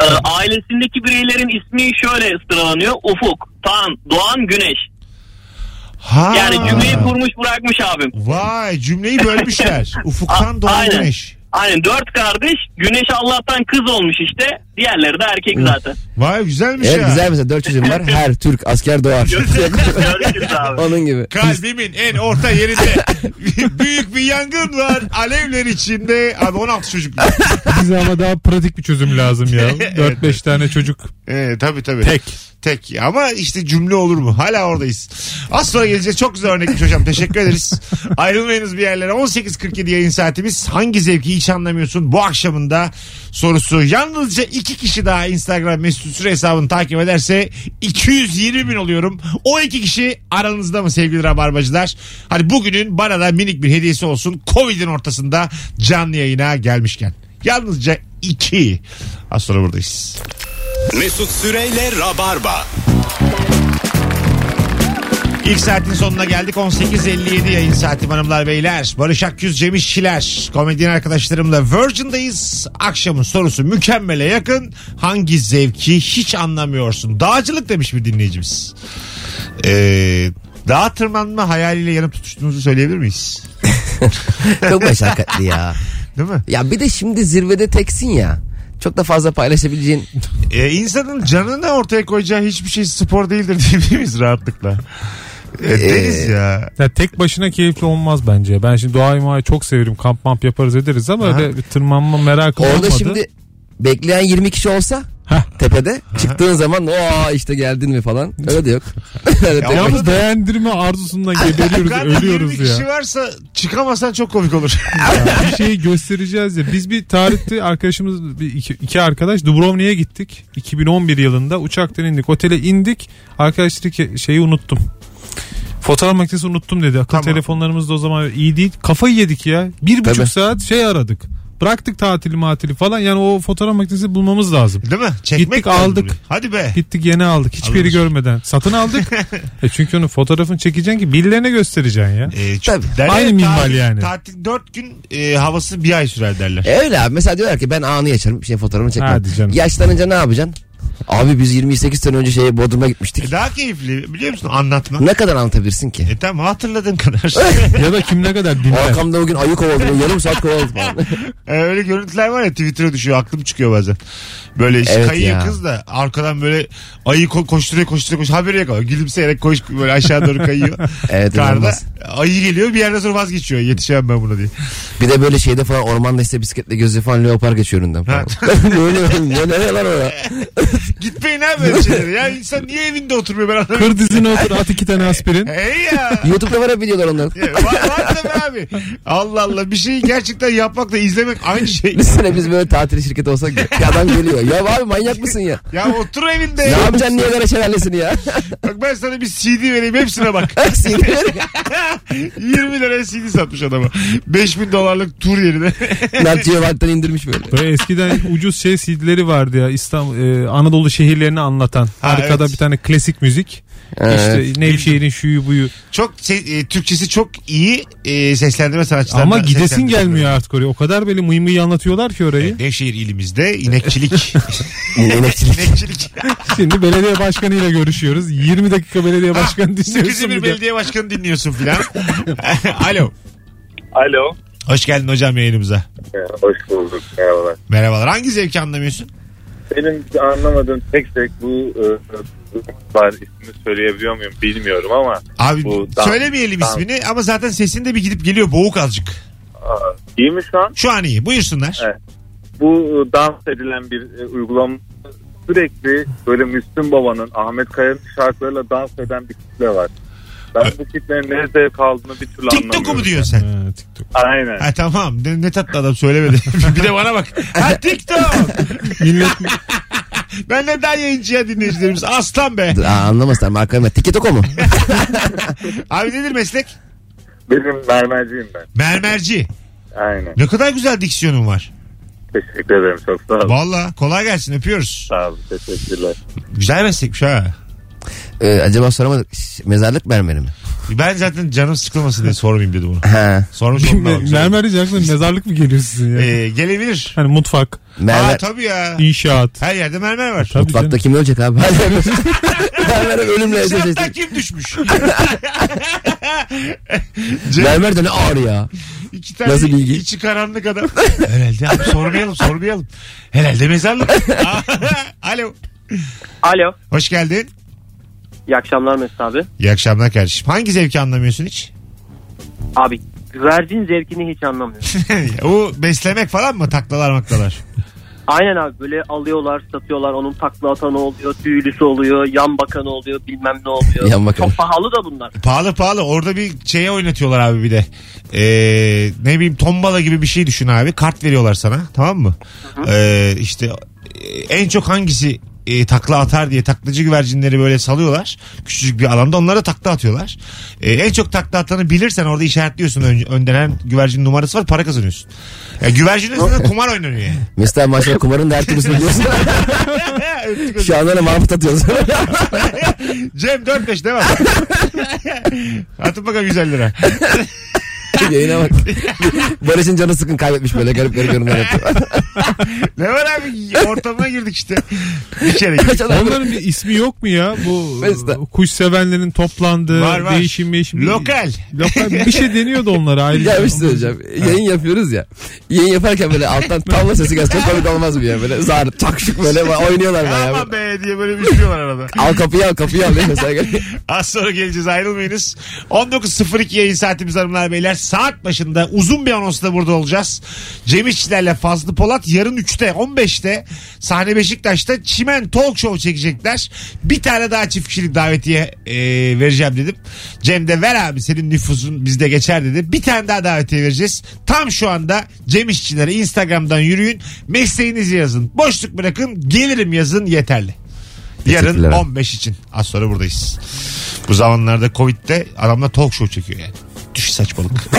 S6: E, ailesindeki bireylerin ismi şöyle sıralanıyor. Ufuk, Tan, Doğan, Güneş.
S2: Ha.
S6: Yani cümleyi kurmuş bırakmış abim.
S2: Vay cümleyi
S6: (laughs)
S2: bölmüşler. Ufuktan
S6: A-
S2: doğan
S6: aynen.
S2: güneş.
S6: Aynen dört kardeş. Güneş Allah'tan kız olmuş işte. Diğerleri de erkek zaten.
S2: Vay güzelmiş
S3: Evet
S2: ya.
S3: güzel mesela dört çocuğum
S2: (laughs)
S3: var. Her Türk asker doğar. (laughs)
S6: Görüşürüz abi.
S3: Onun gibi.
S2: Kalbimin en orta
S3: (laughs)
S2: yerinde büyük bir yangın var. Alevler içinde. Abi 16 çocuk.
S4: Bize ama daha pratik bir çözüm lazım ya. 4-5 tane çocuk
S2: Ee, tabii tabii.
S4: tek.
S2: Tek. Ama işte cümle olur mu? Hala oradayız. Az sonra geleceğiz. Çok güzel örnekmiş hocam. Teşekkür ederiz. Ayrılmayınız bir yerlere. 18.47 yayın saatimiz. Hangi zevki hiç anlamıyorsun? Bu akşamında sorusu. Yalnızca iki kişi daha Instagram mesut süre hesabını takip ederse 220 bin oluyorum. O iki kişi aranızda mı sevgili rabarbacılar? Hadi bugünün bana da minik bir hediyesi olsun. Covid'in ortasında canlı yayına gelmişken. Yalnızca iki. Az sonra buradayız.
S1: Mesut Süreyle Rabarba.
S2: İlk saatin sonuna geldik. 18.57 yayın saati hanımlar beyler. Barış Akyüz, Cem İşçiler. Komedyen arkadaşlarımla Virgin'dayız. Akşamın sorusu mükemmele yakın. Hangi zevki hiç anlamıyorsun? Dağcılık demiş bir dinleyicimiz. Ee, dağ tırmanma hayaliyle yanıp tutuştuğunuzu söyleyebilir miyiz?
S3: Çok meşakkatli ya.
S2: Değil mi?
S3: Ya bir de şimdi zirvede teksin ya. Çok da fazla paylaşabileceğin.
S2: Ee, insanın canını ortaya koyacağı hiçbir şey spor değildir (laughs) diyebilir miyiz rahatlıkla? Ee, deriz ya.
S4: Ya tek başına keyifli olmaz bence. Ben şimdi doğayı muayı çok severim. Kamp mamp yaparız ederiz ama
S2: Aha.
S4: öyle bir tırmanma merakı
S3: Orada
S4: olmadı.
S3: şimdi bekleyen 20 kişi olsa tepede. Çıktığın zaman o işte geldin mi falan. Öyle
S4: (laughs)
S3: de yok. (laughs) Öyle de yok.
S4: Yalnız beğendirme arzusundan geberiyoruz,
S2: Yukarıda 20
S4: Ee, ölüyoruz
S2: kişi
S4: ya.
S2: varsa çıkamasan çok komik
S4: (laughs)
S2: olur.
S4: Bir şeyi göstereceğiz ya. Biz bir tarihte arkadaşımız, bir iki, iki arkadaş Dubrovnik'e gittik. 2011 yılında uçaktan indik. Otele indik. Arkadaş dedi ki şeyi unuttum. Fotoğraf makinesi unuttum dedi. Akıl
S2: Tamam.
S4: telefonlarımız da o zaman iyi değil. Kafayı yedik ya. Bir buçuk
S3: Tabii.
S4: saat şey aradık. Bıraktık tatili matili falan. Yani o fotoğraf makinesi bulmamız lazım.
S2: Değil mi? Çekmek
S4: Gittik,
S2: lazım
S4: aldık.
S2: bunu. Hadi be.
S4: Gittik yeni aldık. Hiçbir yeri
S2: Alınır.
S4: görmeden.
S2: (laughs)
S4: Satın aldık. e çünkü onun fotoğrafını çekeceksin ki birilerine göstereceksin ya.
S2: Ee, çok-
S3: Tabii.
S2: derler
S4: Aynı
S2: ya,
S4: minval
S2: tatil-
S4: yani.
S2: Tatil 4 gün e, havası bir ay sürer derler.
S3: E öyle abi. Mesela diyorlar ki ben anı yaşarım. Bir şey fotoğrafını çekmem.
S4: Hadi canım.
S3: Yaşlanınca ne yapacaksın? Abi biz 28 sene önce şeye Bodrum'a gitmiştik.
S2: E, daha keyifli biliyor musun anlatma.
S3: Ne kadar anlatabilirsin ki?
S2: E tamam hatırladığın
S3: (laughs)
S2: kadar.
S4: ya E da kim ne kadar dinler.
S3: Arkamda bugün ayı kovaldı.
S4: (laughs)
S3: Yarım saat kovaldı falan. (laughs)
S2: E, öyle görüntüler var ya Twitter'a düşüyor aklım çıkıyor bazen. Böyle işte
S3: Evet
S2: kayıyor
S3: ya.
S2: kız da arkadan böyle ayı ko- koşturuyor koşturuyor koşturuyor haberi yok. Gülümseyerek koş böyle aşağı doğru kayıyor.
S3: (laughs) Evet,
S2: Karda
S3: inanılmaz.
S2: ayı geliyor bir yerden sonra vazgeçiyor yetişemem ben buna diye.
S3: Bir de böyle şeyde falan ormanda işte bisikletle gözle falan leopar geçiyor önünden falan. (laughs) böyle ne ne
S4: (laughs)
S3: lan o ya?
S2: Gitmeyin abi böyle şeylere ya insan niye evinde oturmuyor ben anlamıyorum.
S4: Kır dizine otur at iki tane aspirin.
S2: Ey ya.
S3: YouTube'da var hep videolar onların.
S2: (laughs) Ya, Var, var tabii abi. Allah Allah bir şeyi gerçekten yapmakla izlemek aynı şey.
S3: Bir sene biz böyle tatil şirketi olsak ya. Bir adam geliyor. Ya abi manyak mısın ya?
S2: Ya otur evinde.
S3: Ne yapacaksın niye gara şelalesini ya?
S2: Bak ben sana bir CD vereyim hepsine bak. (laughs)
S3: Sinir.
S2: 20 liraya CD satmış adama. 5000 dolarlık tur yerine. (laughs)
S3: Mertciye Valt'tan indirmiş böyle.
S4: Böyle eskiden ucuz şey CD'leri vardı ya İstanbul, e, Anadolu şehirlerini anlatan.
S2: Ha,
S4: Arkada
S2: evet.
S4: bir tane klasik müzik.
S3: Evet.
S4: İşte Nevşehir'in şuyu buyu.
S2: Çok se- e, Türkçesi çok iyi e, seslendirme sanatçıları.
S4: Ama gidesin gelmiyor artık oraya. O kadar böyle mıy mıy anlatıyorlar ki orayı.
S2: Nevşehir ilimizde
S4: (laughs)
S2: inekçilik.
S3: Emekçilik.
S2: inekçilik.
S4: Şimdi belediye başkanıyla görüşüyoruz. 20 dakika belediye başkanı
S2: Sıkıcı
S4: dinliyorsun.
S2: bir
S4: bir de.
S2: belediye başkanı dinliyorsun filan. Alo.
S10: Alo.
S2: Hoş geldin hocam yayınımıza.
S10: Hoş bulduk. Merhabalar.
S2: Merhabalar. Hangi zevki anlamıyorsun?
S10: Benim anlamadığım tek zevk bu e, e, var ismini söyleyebiliyor muyum bilmiyorum ama
S2: Abi
S10: Bu dans-
S2: söylemeyelim
S10: dans.
S2: ismini ama zaten sesin de bir gidip geliyor boğuk azıcık.
S10: aa, iyi mi şu an?
S2: Şu an iyi. Buyursunlar.
S10: Evet. Bu e, dans edilen bir e, uygulama sürekli böyle Müslüm Baba'nın Ahmet Kaya'nın şarkılarıyla dans eden bir kitle var. Ben bu kitlenin ne zevk aldığını bir türlü
S2: TikTok'u mu
S10: anlamıyorum.
S2: diyorsun sen?
S4: Ha, TikTok.
S10: Aynen.
S2: Ha tamam. Ne, ne tatlı adam söylemedi. (laughs) bir de bana bak. Ha TikTok.
S4: Millet
S2: (laughs) ben de daha yayıncıya dinleyicilerimiz. Aslan be.
S3: Aa, anlamazlar marka mı? Tiki Toko mu?
S2: Abi nedir meslek?
S10: Benim mermerciyim ben.
S2: Mermerci.
S10: Aynen.
S2: Ne kadar güzel diksiyonun var.
S10: Teşekkür ederim. Çok sağ olun.
S2: Valla kolay gelsin öpüyoruz.
S10: Sağ olun. Teşekkürler.
S2: Güzel meslekmiş ha.
S3: Ee, acaba soramadık. Şş, Mezarlık mermeri mi?
S2: Ben zaten canım sıkılmasın diye sormayayım dedim onu.
S3: Ha.
S2: (laughs) Sormuş olmam lazım.
S4: mermer diyeceksin mezarlık mı geliyor sizin ya?
S2: Ee, gelebilir.
S4: Hani mutfak,
S2: Aa,
S3: Mermer.
S2: tabii ya.
S4: inşaat.
S2: Her yerde mermer var.
S4: Tabii
S3: Mutfakta
S4: canım.
S3: kim ölecek abi? (laughs) Mermer'e ölümle
S2: Şaptan
S3: eşleşti.
S2: kim (laughs) düşmüş?
S3: Mermer de ne ağır ya.
S2: İki tane
S3: Nasıl bilgi?
S2: içi karanlık
S3: (laughs)
S2: adam. Herhalde abi sormayalım sormayalım. Herhalde (laughs) mezarlık. Alo.
S9: Alo.
S2: Hoş geldin.
S9: İyi akşamlar Mesut abi.
S2: İyi akşamlar kardeşim. Hangi zevki anlamıyorsun hiç?
S9: Abi güvercin zevkini hiç
S2: (laughs)
S9: anlamıyorum.
S2: o beslemek falan mı? Taklalar maklalar.
S9: Aynen abi böyle alıyorlar satıyorlar onun takla atanı oluyor tüylüsü oluyor yan bakanı oluyor bilmem ne oluyor.
S3: Yan bakanı.
S9: Çok pahalı da bunlar.
S2: Pahalı pahalı. Orada bir şeye oynatıyorlar abi bir de. Ee, ne bileyim tombala gibi bir şey düşün abi. Kart veriyorlar sana tamam mı? Ee, işte e, en çok hangisi e, takla atar diye taklacı güvercinleri böyle salıyorlar. Küçücük bir alanda onlara takla atıyorlar. Ee, en çok takla atanı bilirsen orada işaretliyorsun ön, öndenen güvercin numarası var para kazanıyorsun. Yani güvercinin üstünde kumar oynanıyor yani.
S3: Mesela maçta kumarın da her türlüsünü biliyorsun.
S2: Öptük hocam.
S3: Şu anda da mahmut atıyoruz.
S2: Cem 4-5 devam. Atın bakalım 150 lira.
S3: Yayına bak. Barış'ın canı sıkın kaybetmiş böyle garip garip yorumlar yapıyor.
S2: Ne var abi ortamına girdik işte. Bir kere
S3: (laughs)
S2: girdik.
S4: Onların bir ismi yok mu ya? Bu
S3: Mesela.
S4: kuş sevenlerin toplandığı
S2: Var, var.
S4: değişim değişim.
S2: Lokal.
S4: Lokal bir şey deniyordu onlara ayrıca.
S3: Ya bir şey söyleyeceğim. Yayın yapıyoruz ya. Yayın yaparken
S2: (laughs)
S3: böyle alttan tavla sesi gelse çok komik olmaz mı ya? Böyle zar takşık böyle oynuyorlar bayağı.
S2: Aman be diye böyle üşüyorlar arada.
S3: Al kapıyı al kapıyı al. diye Mesela
S2: Az sonra geleceğiz ayrılmayınız. 19.02 yayın saatimiz hanımlar beyler. saat başında uzun bir anonsla burada olacağız. Cem İşçilerle Fazlı Polat yarın 3'te 15'te sahne Beşiktaş'ta Çimen Talk Show çekecekler. Bir tane daha çift kişilik davetiye e, vereceğim dedim. Cem de ver abi senin nüfusun bizde geçer dedi. Bir tane daha davetiye vereceğiz. Tam şu anda Cem İşçilere Instagram'dan yürüyün. Mesleğinizi yazın. Boşluk bırakın. Gelirim yazın yeterli. Yarın
S3: Teşekkürler.
S2: 15 için. Az sonra buradayız. Bu zamanlarda Covid'de adamlar talk show çekiyor yani. Düş saçmalık.